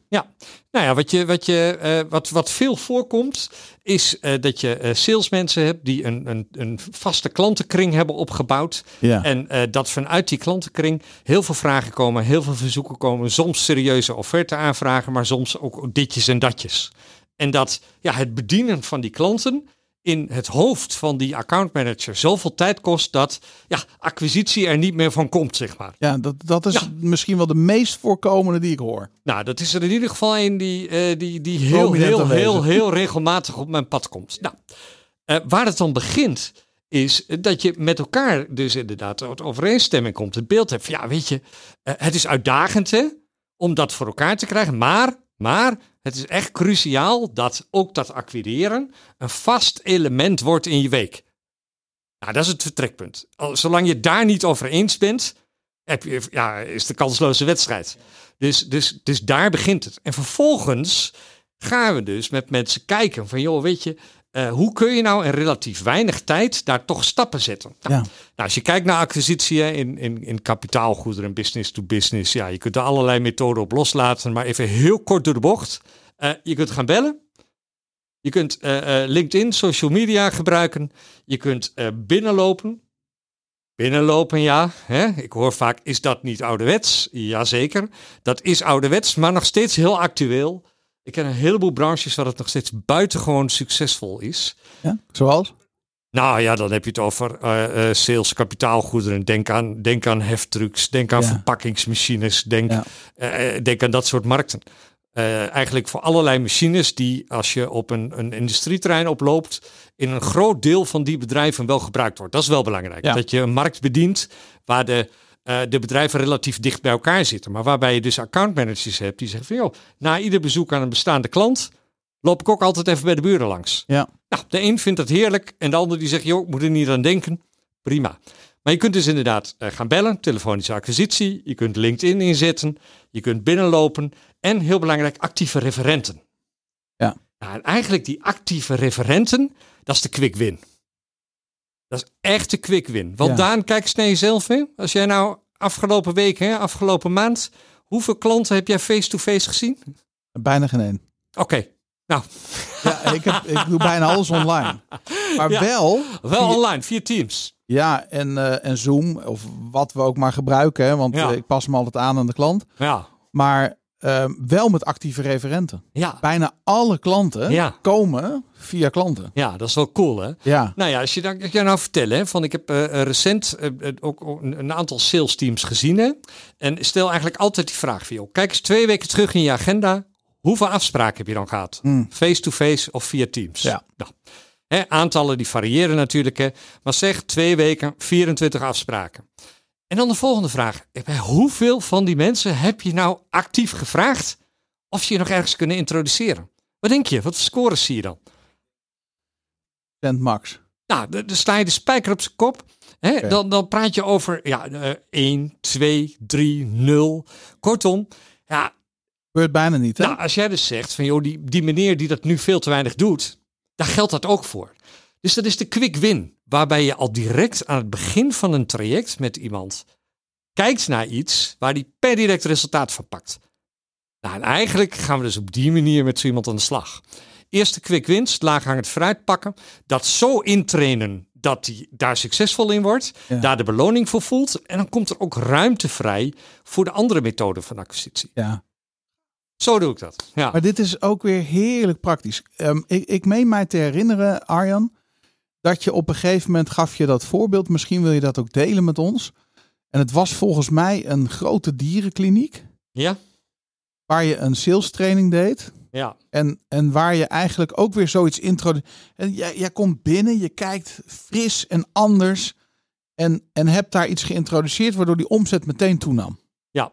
[SPEAKER 3] Nou ja, wat, je, wat, je, eh, wat, wat veel voorkomt, is eh, dat je eh, salesmensen hebt die een, een, een vaste klantenkring hebben opgebouwd.
[SPEAKER 1] Ja.
[SPEAKER 3] En eh, dat vanuit die klantenkring heel veel vragen komen, heel veel verzoeken komen. Soms serieuze offerte aanvragen, maar soms ook ditjes en datjes. En dat ja, het bedienen van die klanten in het hoofd van die accountmanager zoveel tijd kost dat ja, acquisitie er niet meer van komt, zeg maar.
[SPEAKER 1] Ja, dat, dat is
[SPEAKER 3] Ja.
[SPEAKER 1] misschien wel de meest voorkomende die ik hoor.
[SPEAKER 3] Nou, dat is er in ieder geval een die, eh, die, die heel,
[SPEAKER 1] Prominent
[SPEAKER 3] heel,
[SPEAKER 1] aanwezig.
[SPEAKER 3] heel, heel regelmatig op mijn pad komt. Nou, eh, waar het dan begint, is eh, dat je met elkaar dus inderdaad tot overeenstemming komt. Het beeld hebt van, ja, weet je, eh, het is uitdagend hè, om dat voor elkaar te krijgen. Maar, maar het is echt cruciaal dat ook dat acquireren een vast element wordt in je week. Nou, dat is het vertrekpunt. Al- Zolang je daar niet over eens bent, heb je, ja, is de kansloze wedstrijd. Dus, dus, dus daar begint het. En vervolgens gaan we dus met mensen kijken van, joh, weet je, eh, hoe kun je nou in relatief weinig tijd daar toch stappen zetten? Nou,
[SPEAKER 1] Ja.
[SPEAKER 3] nou, als je kijkt naar acquisitie hè, in, in, in kapitaalgoederen en business to business, ja, je kunt er allerlei methoden op loslaten, maar even heel kort door de bocht. Eh, je kunt gaan bellen. Je kunt eh, eh, LinkedIn, social media gebruiken. Je kunt eh, binnenlopen. Binnenlopen, ja. Hè? Ik hoor vaak, is dat niet ouderwets? Jazeker. Dat is ouderwets, maar nog steeds heel actueel. Ik ken een heleboel branches waar het nog steeds buitengewoon succesvol is.
[SPEAKER 1] Ja? Zoals?
[SPEAKER 3] Nou ja, dan heb je het over eh, eh, sales, kapitaalgoederen. Denk aan, denk aan heftrucks, denk aan
[SPEAKER 1] Ja.
[SPEAKER 3] verpakkingsmachines, denk,
[SPEAKER 1] Ja.
[SPEAKER 3] eh, eh, denk aan dat soort markten. Eh, eigenlijk voor allerlei machines die als je op een, een industrieterrein oploopt, in een groot deel van die bedrijven wel gebruikt wordt. Dat is wel belangrijk.
[SPEAKER 1] Ja.
[SPEAKER 3] Dat je een markt bedient waar de, eh, de bedrijven relatief dicht bij elkaar zitten. Maar waarbij je dus accountmanagers hebt die zeggen van joh, na ieder bezoek aan een bestaande klant loop ik ook altijd even bij de buren langs.
[SPEAKER 1] Ja.
[SPEAKER 3] Nou, de een vindt dat heerlijk en de ander die zegt, joh, ik moet er niet aan denken. Prima. Maar je kunt dus inderdaad eh, gaan bellen, telefonische acquisitie. Je kunt LinkedIn inzetten. Je kunt binnenlopen. En heel belangrijk, actieve referenten.
[SPEAKER 1] Ja.
[SPEAKER 3] Nou, en eigenlijk die actieve referenten, dat is de quick win. Dat is echt de quick win. Want
[SPEAKER 1] Ja.
[SPEAKER 3] Daan, kijk eens naar jezelf in. Als jij nou afgelopen week, hè, afgelopen maand, hoeveel klanten heb jij face-to-face gezien?
[SPEAKER 1] Bijna geen één.
[SPEAKER 3] Oké,
[SPEAKER 1] Ja, ik, heb, ik doe bijna alles online. Maar
[SPEAKER 3] Ja.
[SPEAKER 1] wel,
[SPEAKER 3] wel
[SPEAKER 1] Via-
[SPEAKER 3] online, via Teams.
[SPEAKER 1] Ja, en, eh, en Zoom, of wat we ook maar gebruiken. Hè, want
[SPEAKER 3] Ja.
[SPEAKER 1] eh, ik pas me altijd aan aan de klant.
[SPEAKER 3] Ja,
[SPEAKER 1] Maar eh, wel met actieve referenten.
[SPEAKER 3] ja,
[SPEAKER 1] Bijna alle klanten
[SPEAKER 3] Ja.
[SPEAKER 1] komen via klanten.
[SPEAKER 3] ja, dat is wel cool, hè?
[SPEAKER 1] Ja,
[SPEAKER 3] Nou ja, als je dan, als jij nou vertelt, hè, van ik heb eh, eh, recent eh, eh, ook ook een, een aantal sales teams gezien. Hè, en stel eigenlijk altijd die vraag voor jou. Kijk eens twee weken terug in je agenda. Hoeveel afspraken heb je dan gehad?
[SPEAKER 1] Hmm.
[SPEAKER 3] Face-to-face of via Teams?
[SPEAKER 1] Ja.
[SPEAKER 3] Nou, hè, aantallen die variëren natuurlijk. Hè, maar zeg twee weken, 24 afspraken. En dan de volgende vraag. Eh, Bij hoeveel van die mensen heb je nou actief gevraagd of ze je nog ergens kunnen introduceren? Wat denk je? Wat voor scores zie je dan?
[SPEAKER 1] cent max.
[SPEAKER 3] Nou, d- dan sta je de spijker op zijn kop. Hè?
[SPEAKER 1] Oké.
[SPEAKER 3] Dan, dan praat je over ja, eh, 1, 2, 3, 0. Kortom, ja,
[SPEAKER 1] Gebeurt bijna niet, hè?
[SPEAKER 3] nou, als jij dus zegt van joh, die, die meneer die dat nu veel te weinig doet, daar geldt dat ook voor. Dus dat is de quick win, waarbij je al direct aan het begin van een traject met iemand kijkt naar iets waar die per direct resultaat van pakt. Nou, en eigenlijk gaan we dus op die manier met zo iemand aan de slag. Eerst de quick wins, laaghangend fruit pakken, dat zo intrainen dat hij daar succesvol in wordt,
[SPEAKER 1] Ja.
[SPEAKER 3] daar de beloning voor voelt en dan komt er ook ruimte vrij voor de andere methode van acquisitie.
[SPEAKER 1] Ja.
[SPEAKER 3] Zo doe ik dat. Ja.
[SPEAKER 1] Maar dit is ook weer heerlijk praktisch. Ehm, ik, ik meen mij te herinneren, Arjan, dat je op een gegeven moment gaf je dat voorbeeld. Misschien wil je dat ook delen met ons. En het was volgens mij een grote dierenkliniek
[SPEAKER 3] Ja,
[SPEAKER 1] waar je een sales training deed.
[SPEAKER 3] ja,
[SPEAKER 1] En, en waar je eigenlijk ook weer zoiets intro. En jij, jij komt binnen, je kijkt fris en anders. En, en hebt daar iets geïntroduceerd waardoor die omzet meteen toenam.
[SPEAKER 3] ja.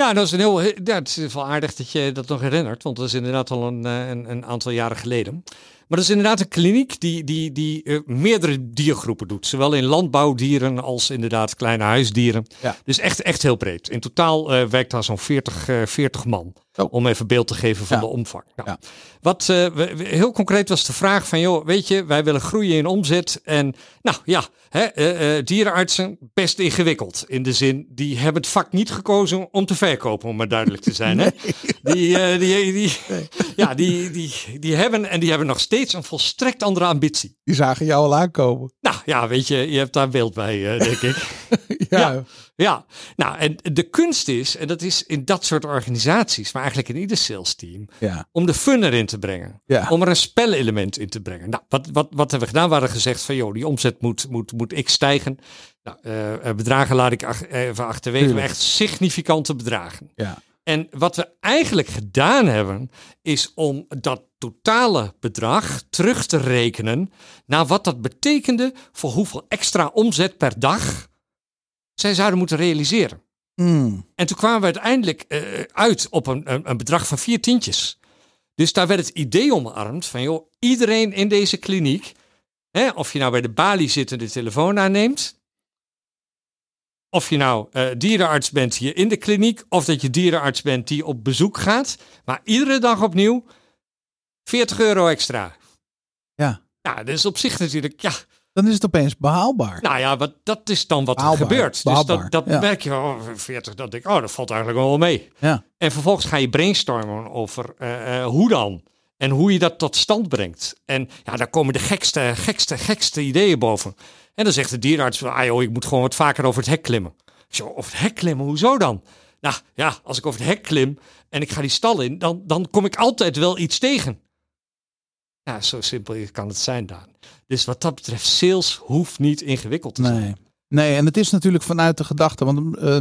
[SPEAKER 3] Ja, dat is een heel. ja, het is wel aardig dat je dat nog herinnert, want dat is inderdaad al een, eh, een, een aantal jaren geleden. Maar dat is inderdaad een kliniek die, die, die eh, meerdere diergroepen doet. Zowel in landbouwdieren als inderdaad kleine huisdieren.
[SPEAKER 1] Ja.
[SPEAKER 3] Dus echt, echt heel breed. In totaal eh, werkt daar zo'n 40, eh, 40 man.
[SPEAKER 1] Zo.
[SPEAKER 3] Om even beeld te geven van
[SPEAKER 1] Ja.
[SPEAKER 3] de omvang. Nou,
[SPEAKER 1] Ja.
[SPEAKER 3] Wat eh, we- we- heel concreet was de vraag van, joh, weet je, wij willen groeien in omzet. En nou ja, hè, eh, eh, dierenartsen, best ingewikkeld. In de zin, die hebben het vak niet gekozen om te verkopen, om maar duidelijk te zijn. Hè? Die, eh, die, die, ja, die, die, die hebben en die hebben nog steeds een volstrekt andere ambitie.
[SPEAKER 1] Die zagen jou al aankomen.
[SPEAKER 3] Nou ja, weet je, je hebt daar beeld bij, eh, denk ik.
[SPEAKER 1] Ja,
[SPEAKER 3] Ja, nou en de kunst is, en dat is in dat soort organisaties, maar eigenlijk in ieder sales team,
[SPEAKER 1] ja.
[SPEAKER 3] om de fun erin te brengen.
[SPEAKER 1] Ja.
[SPEAKER 3] Om er een spelelement in te brengen. Nou, wat, wat, wat hebben we gedaan? We hadden gezegd van, joh, die omzet moet, moet, moet x stijgen. Nou, eh, eh, bedragen laat ik ach, even achterwege, maar
[SPEAKER 1] Tuurlijk.
[SPEAKER 3] echt significante bedragen.
[SPEAKER 1] ja.
[SPEAKER 3] En wat we eigenlijk gedaan hebben, is om dat totale bedrag terug te rekenen naar wat dat betekende voor hoeveel extra omzet per dag zij zouden moeten realiseren.
[SPEAKER 1] Mm.
[SPEAKER 3] En toen kwamen we uiteindelijk eh, uit op een, een, een bedrag van vier tientjes. Dus daar werd het idee omarmd van, joh, iedereen in deze kliniek, hè, of je nou bij de balie zit en de telefoon aanneemt, of je nou eh, dierenarts bent hier in de kliniek, of dat je dierenarts bent die op bezoek gaat, maar iedere dag opnieuw 40 euro extra.
[SPEAKER 1] Ja.
[SPEAKER 3] Nou, dat is op zich natuurlijk, ja,
[SPEAKER 1] Dan is het opeens behaalbaar.
[SPEAKER 3] nou ja, wat, dat is dan wat
[SPEAKER 1] Behaalbaar.
[SPEAKER 3] er gebeurt. dus
[SPEAKER 1] Behaalbaar,
[SPEAKER 3] dat, dat
[SPEAKER 1] ja.
[SPEAKER 3] merk je, oh, 40, dat denk ik, oh, dat valt eigenlijk wel mee.
[SPEAKER 1] Ja.
[SPEAKER 3] En vervolgens ga je brainstormen over eh, eh, hoe dan. En hoe je dat tot stand brengt. En ja, daar komen de gekste, gekste, gekste ideeën boven. En dan zegt de dierenarts, van, ah joh, ik moet gewoon wat vaker over het hek klimmen. Ik zeg, over het hek klimmen, hoezo dan? Nou ja, als ik over het hek klim en ik ga die stal in, dan, dan kom ik altijd wel iets tegen. Ja, zo simpel kan het zijn, Daan. Dus wat dat betreft, sales hoeft niet ingewikkeld te zijn.
[SPEAKER 1] Nee. nee, en het is natuurlijk vanuit de gedachte, want eh,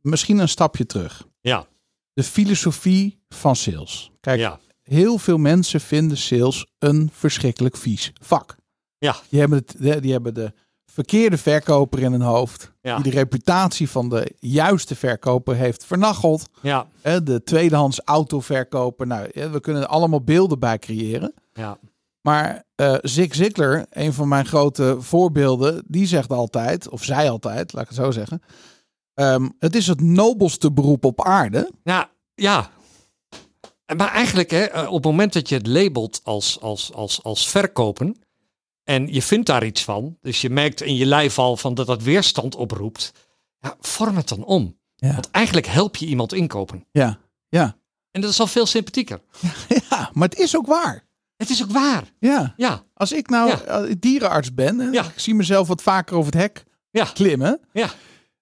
[SPEAKER 1] misschien een stapje terug.
[SPEAKER 3] Ja,
[SPEAKER 1] De filosofie van sales. Kijk,
[SPEAKER 3] ja,
[SPEAKER 1] heel veel mensen vinden sales een verschrikkelijk vies vak.
[SPEAKER 3] ja,
[SPEAKER 1] Die hebben, het, de- die hebben de verkeerde verkoper in hun hoofd,
[SPEAKER 3] Ja.
[SPEAKER 1] die de reputatie van de juiste verkoper heeft vernacheld.
[SPEAKER 3] ja,
[SPEAKER 1] Hè, de tweedehands autoverkoper. Nou, ja, we kunnen er allemaal beelden bij creëren.
[SPEAKER 3] ja,
[SPEAKER 1] Maar eh Zig Ziglar, een van mijn grote voorbeelden, die zegt altijd, of zij altijd, laat ik het zo zeggen. ehm, het is het nobelste beroep op aarde.
[SPEAKER 3] ja, Nou, ja. En Maar eigenlijk, hè, eh, op het moment dat je het labelt als, als, als, als verkopen en je vindt daar iets van, dus je merkt in je lijf al van dat dat weerstand oproept, ja, vorm het dan om.
[SPEAKER 1] Ja.
[SPEAKER 3] Want eigenlijk help je iemand inkopen.
[SPEAKER 1] Ja, ja.
[SPEAKER 3] En dat is al veel sympathieker.
[SPEAKER 1] ja maar het is ook waar.
[SPEAKER 3] Het is ook waar.
[SPEAKER 1] Ja.
[SPEAKER 3] Ja,
[SPEAKER 1] Als ik nou
[SPEAKER 3] Ja.
[SPEAKER 1] eh, dierenarts ben en
[SPEAKER 3] Ja.
[SPEAKER 1] ik zie mezelf wat vaker over het hek
[SPEAKER 3] ja,
[SPEAKER 1] klimmen,
[SPEAKER 3] ja.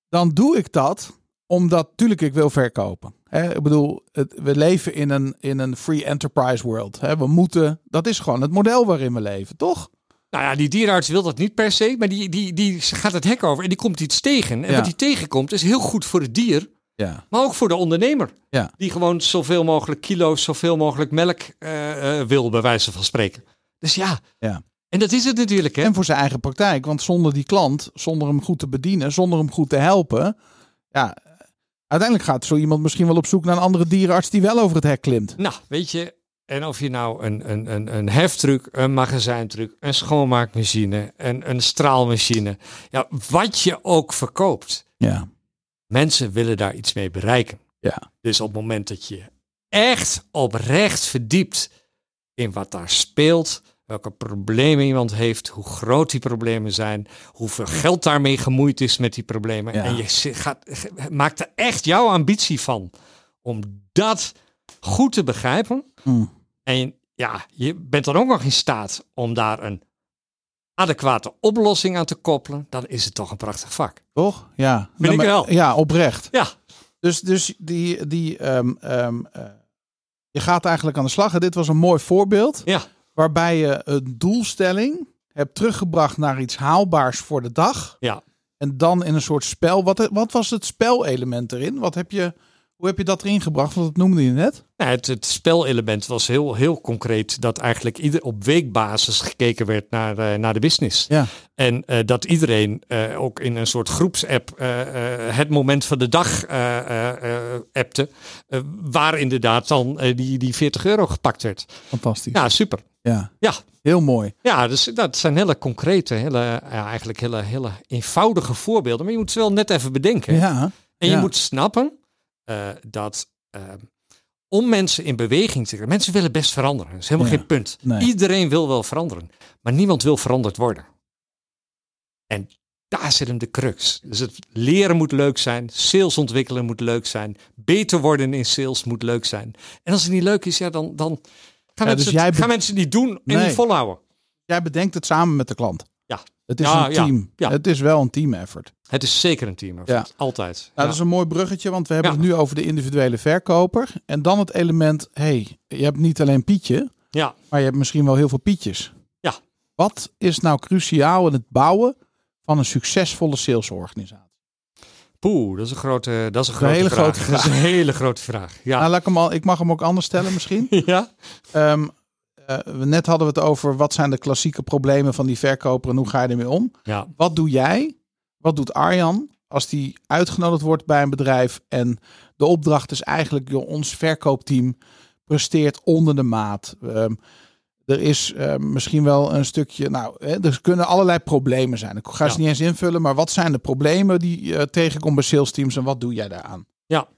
[SPEAKER 1] dan doe ik dat omdat, tuurlijk, ik wil verkopen. Hè, ik bedoel, het- we leven in een, in een free enterprise world. Hè, we moeten, dat is gewoon het model waarin we leven, toch?
[SPEAKER 3] Nou ja, die dierenarts wil dat niet per se, maar die, die, die gaat het hek over en die komt iets tegen. En
[SPEAKER 1] Ja.
[SPEAKER 3] wat die tegenkomt is heel goed voor het dier,
[SPEAKER 1] Ja.
[SPEAKER 3] maar ook voor de ondernemer.
[SPEAKER 1] Ja.
[SPEAKER 3] Die gewoon zoveel mogelijk kilo's, zoveel mogelijk melk eh, eh, wil, bij wijze van spreken. Dus ja.
[SPEAKER 1] Ja.
[SPEAKER 3] En dat is het natuurlijk, hè?
[SPEAKER 1] En voor zijn eigen praktijk. Want zonder die klant, zonder hem goed te bedienen, zonder hem goed te helpen. Ja, uiteindelijk gaat zo iemand misschien wel op zoek naar een andere dierenarts die wel over het hek klimt.
[SPEAKER 3] Nou, weet je, en of je nou een, een, een, een heftruck, een magazijntruck, een schoonmaakmachine, een, een straalmachine, ja, wat je ook verkoopt,
[SPEAKER 1] Ja,
[SPEAKER 3] mensen willen daar iets mee bereiken.
[SPEAKER 1] Ja.
[SPEAKER 3] Dus op het moment dat je echt oprecht verdiept in wat daar speelt, welke problemen iemand heeft, hoe groot die problemen zijn, hoeveel geld daarmee gemoeid is met die problemen,
[SPEAKER 1] Ja.
[SPEAKER 3] en je zi- gaat, ge- maakt er echt jouw ambitie van om dat goed te begrijpen.
[SPEAKER 1] Mm.
[SPEAKER 3] En ja, je bent dan ook nog in staat om daar een adequate oplossing aan te koppelen, dan is het toch een prachtig vak.
[SPEAKER 1] toch? Ja. Vind
[SPEAKER 3] ik wel.
[SPEAKER 1] Ja, oprecht.
[SPEAKER 3] Ja,
[SPEAKER 1] Dus, dus die, die, ehm, ehm, eh, je gaat eigenlijk aan de slag. En dit was een mooi voorbeeld.
[SPEAKER 3] ja.
[SPEAKER 1] Waarbij je een doelstelling hebt teruggebracht naar iets haalbaars voor de dag.
[SPEAKER 3] Ja.
[SPEAKER 1] En dan in een soort spel. Wat, wat was het spelelement erin? Wat heb je, hoe heb je dat erin gebracht? Want dat noemde je net.
[SPEAKER 3] Nou, het, het spelelement was heel, heel concreet dat eigenlijk ieder, op weekbasis gekeken werd naar, eh, naar de business.
[SPEAKER 1] Ja.
[SPEAKER 3] En eh, dat iedereen eh, ook in een soort groepsapp eh, eh, het moment van de dag eh, eh, eh, appte. eh, waar inderdaad dan eh, die, die 40 euro gepakt werd.
[SPEAKER 1] Fantastisch.
[SPEAKER 3] Ja, super.
[SPEAKER 1] Ja,
[SPEAKER 3] Ja,
[SPEAKER 1] heel mooi.
[SPEAKER 3] ja dus dat zijn hele concrete, hele, ja, eigenlijk hele, hele eenvoudige voorbeelden. Maar je moet ze wel net even bedenken.
[SPEAKER 1] Ja,
[SPEAKER 3] En je
[SPEAKER 1] Ja.
[SPEAKER 3] moet snappen eh, dat eh, om mensen in beweging te krijgen, mensen willen best veranderen. Dat is helemaal
[SPEAKER 1] Ja.
[SPEAKER 3] geen punt.
[SPEAKER 1] Nee.
[SPEAKER 3] Iedereen wil wel veranderen, maar niemand wil veranderd worden. En daar zit hem de crux. Dus het leren moet leuk zijn, sales ontwikkelen moet leuk zijn, beter worden in sales moet leuk zijn. En als het niet leuk is, ja, dan, dan gaan,
[SPEAKER 1] dus
[SPEAKER 3] mensen,
[SPEAKER 1] jij
[SPEAKER 3] het,
[SPEAKER 1] be-
[SPEAKER 3] gaan mensen het niet doen en
[SPEAKER 1] Nee.
[SPEAKER 3] niet volhouden.
[SPEAKER 1] jij bedenkt het samen met de klant.
[SPEAKER 3] Ja.
[SPEAKER 1] Het is
[SPEAKER 3] Ja,
[SPEAKER 1] een
[SPEAKER 3] ja,
[SPEAKER 1] team.
[SPEAKER 3] ja.
[SPEAKER 1] Het is wel een team effort.
[SPEAKER 3] Het is zeker een team,
[SPEAKER 1] Ja.
[SPEAKER 3] altijd.
[SPEAKER 1] Nou,
[SPEAKER 3] Ja.
[SPEAKER 1] Dat is een mooi bruggetje, want we hebben
[SPEAKER 3] Ja.
[SPEAKER 1] het nu over de individuele verkoper. En dan het element, hey, je hebt niet alleen Pietje,
[SPEAKER 3] ja.
[SPEAKER 1] maar je hebt misschien wel heel veel Pietjes.
[SPEAKER 3] Ja.
[SPEAKER 1] Wat is nou cruciaal in het bouwen van een succesvolle salesorganisatie?
[SPEAKER 3] Poeh, dat is een grote, dat is een
[SPEAKER 1] een
[SPEAKER 3] grote
[SPEAKER 1] hele
[SPEAKER 3] vraag.
[SPEAKER 1] grote
[SPEAKER 3] Dat is een hele grote vraag. Ja.
[SPEAKER 1] Nou, laat ik, hem al, ik mag hem ook anders stellen misschien.
[SPEAKER 3] ja.
[SPEAKER 1] Ehm, eh, we net hadden we het over wat zijn de klassieke problemen van die verkoper en hoe ga je ermee om.
[SPEAKER 3] ja.
[SPEAKER 1] Wat doe jij? Wat doet Arjan als die uitgenodigd wordt bij een bedrijf en de opdracht is eigenlijk joh, ons verkoopteam presteert onder de maat. Ehm, er is ehm, misschien wel een stukje, nou, hè, er kunnen allerlei problemen zijn. Ik ga ze
[SPEAKER 3] Ja.
[SPEAKER 1] niet eens invullen, maar wat zijn de problemen die je tegenkomt bij sales teams en wat doe jij daaraan?
[SPEAKER 3] Ja.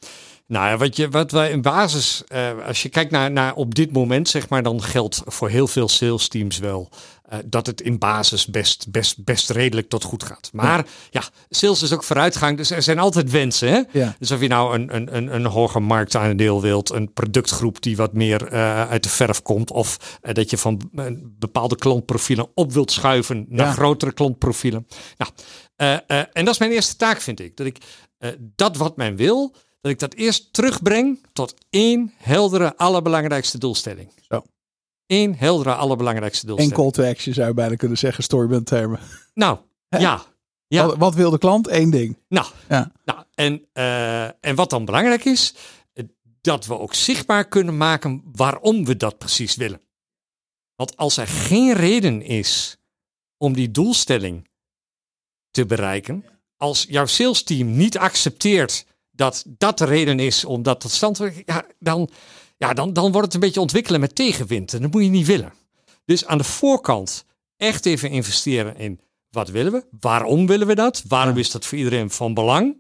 [SPEAKER 3] Nou ja, wat, je, wat wij in basis, eh, als je kijkt naar, naar op dit moment, zeg maar, dan geldt voor heel veel sales teams wel eh, dat het in basis best, best, best redelijk tot goed gaat. Maar ja. sales is ook vooruitgang, dus er zijn altijd wensen. Hè?
[SPEAKER 1] Ja.
[SPEAKER 3] Dus of je nou een, een, een, een hoger marktaandeel wilt, een productgroep die wat meer eh, uit de verf komt, of eh, dat je van eh, bepaalde klantprofielen op wilt schuiven naar
[SPEAKER 1] Ja.
[SPEAKER 3] grotere klantprofielen. Nou, eh, eh, en dat is mijn eerste taak, vind ik. Dat ik eh, dat wat men wil, dat ik dat eerst terugbreng tot één heldere, allerbelangrijkste doelstelling.
[SPEAKER 1] Zo.
[SPEAKER 3] Eén heldere, allerbelangrijkste
[SPEAKER 1] Een
[SPEAKER 3] doelstelling.
[SPEAKER 1] call to action zou je bijna kunnen zeggen, storybound termen.
[SPEAKER 3] Nou, ja. Ja.
[SPEAKER 1] Wat, wat wil de klant? Eén ding.
[SPEAKER 3] Nou,
[SPEAKER 1] Ja.
[SPEAKER 3] nou en, eh, en wat dan belangrijk is, eh, dat we ook zichtbaar kunnen maken waarom we dat precies willen. Want als er geen reden is om die doelstelling te bereiken, als jouw sales team niet accepteert dat dat de reden is om dat tot stand te brengen, ja, dan, ja, dan, dan wordt het een beetje ontwikkelen met tegenwind. En dat moet je niet willen. Dus aan de voorkant echt even investeren in wat willen we? Waarom willen we dat? Waarom is dat voor iedereen van belang?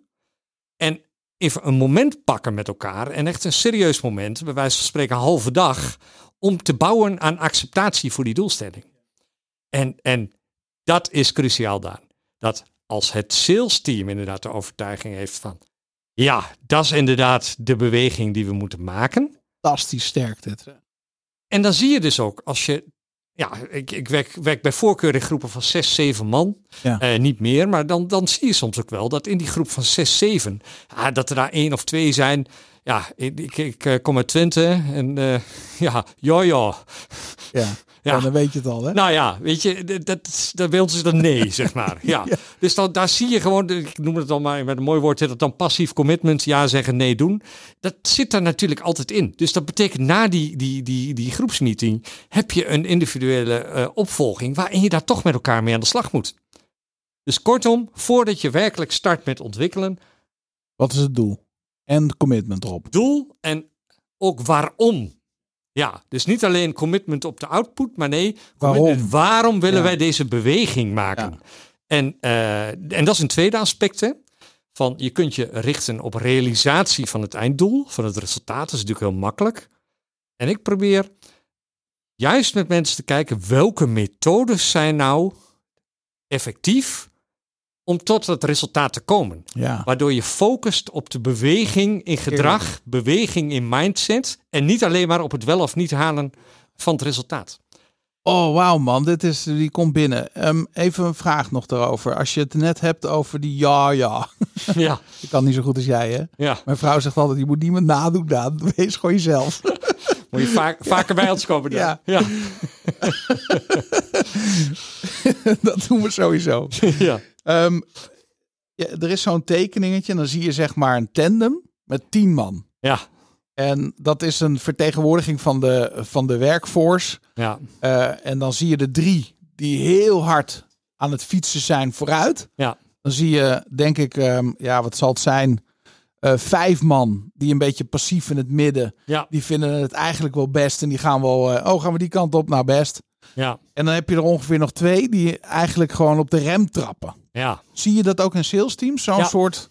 [SPEAKER 3] En even een moment pakken met elkaar en echt een serieus moment, bij wijze van spreken een halve dag, om te bouwen aan acceptatie voor die doelstelling. En, en dat is cruciaal daar. Dat als het sales team inderdaad de overtuiging heeft van, ja, dat is inderdaad de beweging die we moeten maken
[SPEAKER 1] Fantastisch sterk dit.
[SPEAKER 3] En dan zie je dus ook, als je. Ja, ik, ik werk, werk bij voorkeur in groepen van zes, zeven man.
[SPEAKER 1] Ja.
[SPEAKER 3] Eh, niet meer, maar dan, dan zie je soms ook wel dat in die groep van zes, zeven, ah, dat er daar één of twee zijn. Ja, ik, ik, ik, eh, kom uit Twente en eh, ja, ja, ja.
[SPEAKER 1] Ja.
[SPEAKER 3] Ja.
[SPEAKER 1] Ja, dan weet je het al, hè?
[SPEAKER 3] Nou ja, weet je, d- dat, is- dat, bij ons is dat nee, zeg maar. Ja. Dus dan, daar zie je gewoon, ik noem het dan maar met een mooi woord, heet dat dan passief commitment, ja zeggen, nee doen. Dat zit daar natuurlijk altijd in. Dus dat betekent na die, die, die, die groepsmeeting heb je een individuele eh, opvolging waarin je daar toch met elkaar mee aan de slag moet. Dus kortom, voordat je werkelijk start met ontwikkelen,
[SPEAKER 1] Wat is het doel? En commitment erop.
[SPEAKER 3] doel en ook waarom. Ja, dus niet alleen commitment op de output, maar nee,
[SPEAKER 1] Waarom?
[SPEAKER 3] commitment. waarom willen
[SPEAKER 1] Ja.
[SPEAKER 3] wij deze beweging maken?
[SPEAKER 1] Ja.
[SPEAKER 3] En, eh, en dat is een tweede aspect. Hè? Van, je kunt je richten op realisatie van het einddoel, van het resultaat. Dat is natuurlijk heel makkelijk. En ik probeer juist met mensen te kijken welke methodes zijn nou effectief om tot dat resultaat te komen.
[SPEAKER 1] Ja.
[SPEAKER 3] Waardoor je focust op de beweging in gedrag, beweging in mindset. En niet alleen maar op het wel of niet halen van het resultaat.
[SPEAKER 1] Oh, wauw man, dit is, die komt binnen. Ehm, even een vraag nog daarover. Als je het net hebt over die ja, ja.
[SPEAKER 3] ja,
[SPEAKER 1] Ik kan niet zo goed als jij, hè?
[SPEAKER 3] ja.
[SPEAKER 1] Mijn vrouw zegt altijd, je moet niemand nadoen, Daan. Wees gewoon jezelf.
[SPEAKER 3] Moet je vaak, vaker bij ons komen. Dan.
[SPEAKER 1] Ja.
[SPEAKER 3] Ja. Ja.
[SPEAKER 1] Dat doen we sowieso.
[SPEAKER 3] Ja.
[SPEAKER 1] Ehm, ja, er is zo'n tekeningetje en dan zie je zeg maar een tandem met tien man.
[SPEAKER 3] ja.
[SPEAKER 1] En dat is een vertegenwoordiging van de, van de werkforce.
[SPEAKER 3] ja.
[SPEAKER 1] Eh, en dan zie je de drie die heel hard aan het fietsen zijn vooruit.
[SPEAKER 3] Ja.
[SPEAKER 1] Dan zie je, denk ik, ehm, ja, wat zal het zijn? Eh, vijf man die een beetje passief in het midden.
[SPEAKER 3] Ja.
[SPEAKER 1] Die vinden het eigenlijk wel best. En die gaan wel, eh, oh, gaan we die kant op? Nou, best.
[SPEAKER 3] Ja.
[SPEAKER 1] En dan heb je er ongeveer nog twee die eigenlijk gewoon op de rem trappen.
[SPEAKER 3] Ja.
[SPEAKER 1] Zie je dat ook in sales teams? Zo'n
[SPEAKER 3] Ja.
[SPEAKER 1] soort.